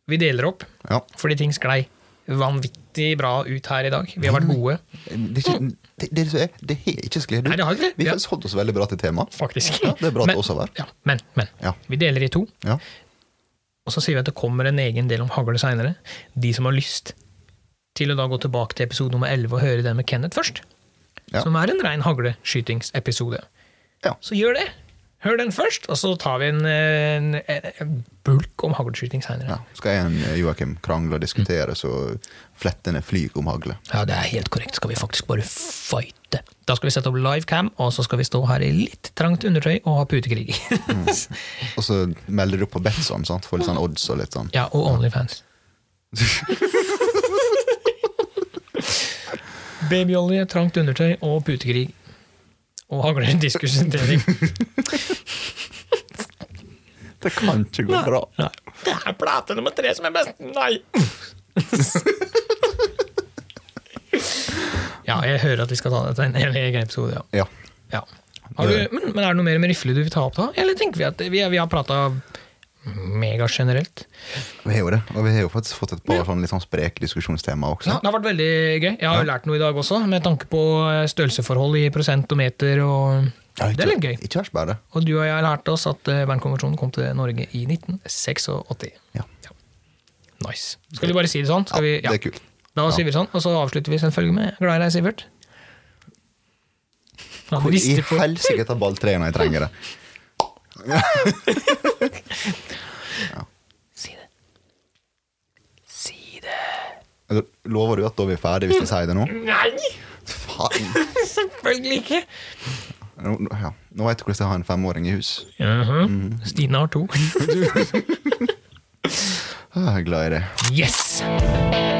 Speaker 1: Vi deler opp,
Speaker 2: Ja.
Speaker 1: fordi ting sklei vanvittig bra ut her i dag. Vi har vært gode.
Speaker 2: Det, er ikke, det, det, som er- det har ikke sklidd
Speaker 1: Mm. Nei, det
Speaker 2: ut.
Speaker 1: har ikke det.
Speaker 2: Vi
Speaker 1: Ja.
Speaker 2: har holdt oss veldig bra til temaet.
Speaker 1: Faktisk.
Speaker 2: Ja, det er bra at
Speaker 1: men,
Speaker 2: det også var.
Speaker 1: Ja, men, men.
Speaker 2: Ja.
Speaker 1: Vi deler i to,
Speaker 2: Ja.
Speaker 1: og så sier vi at det kommer en egen del om hagle seinere. De som har lyst til å da gå tilbake til episode nummer 11 og høre den med Kenneth først,
Speaker 2: Ja.
Speaker 1: som er en rein hagleskytingsepisode,
Speaker 2: Ja.
Speaker 1: så gjør det. Hør den først, og så tar vi en, eh, en, en, en bulk om hagleskyting seinere.
Speaker 2: Ja. Skal jeg og Joakim krangle og diskutere, så flettene flyr om hagle.
Speaker 1: Ja. det er helt korrekt. Skal vi faktisk bare fighte. Da skal vi sette opp livecam, og så skal vi stå her i litt trangt undertøy og ha putekrig.
Speaker 2: Og så melder du opp på Betson sant? for litt sånn odds og litt sånn.
Speaker 1: ja, og Onlyfans. Babyolje, trangt undertøy og putekrig. Og hagler diskussentering.
Speaker 2: Det kan ikke gå bra.
Speaker 1: Det er plate nummer tre som er best! Nei! ja, jeg hører at vi skal ta dette i en hel egen episode, ja.
Speaker 2: Ja.
Speaker 1: ja. Har du, men, men er det noe mer med rifle du vil ta opp da? Eller tenker vi at vi, vi har prata megagenerelt?
Speaker 2: Vi har jo det. Og vi har jo faktisk fått et par sånn litt sånn spreke diskusjonstemaer
Speaker 1: Ja,
Speaker 2: også.
Speaker 1: det har vært veldig gøy. Jeg har jo lært noe i dag også, med tanke på eh, størrelseforhold i prosent og meter. Og
Speaker 2: Ja,
Speaker 1: det er litt gøy.
Speaker 2: Ikke verst bare det.
Speaker 1: Og du og jeg lærte oss at eh, Bernkonvensjonen kom til Norge i 1986.
Speaker 2: Ja.
Speaker 1: Nice. Skal vi bare si det sånn? Skal vi,
Speaker 2: Ja, det er kult.
Speaker 1: Da sier vi det sånn, og så avslutter vi selvfølgelig med Glad i deg, Sivert. Han
Speaker 2: Hvor i
Speaker 1: rister på-
Speaker 2: helsike tar balltreet når jeg trenger det?
Speaker 1: Si det. Si det.
Speaker 2: Eller, Altså, Lover du at da er vi ferdige hvis jeg sier det nå?
Speaker 1: Nei!
Speaker 2: Faen.
Speaker 1: Selvfølgelig ikke!
Speaker 2: Nå, nå- ja. nå vet du hvordan jeg har en femåring i hus.
Speaker 1: Jaha. Stine har to.
Speaker 2: Ah, Jeg er glad i det.
Speaker 1: Yes!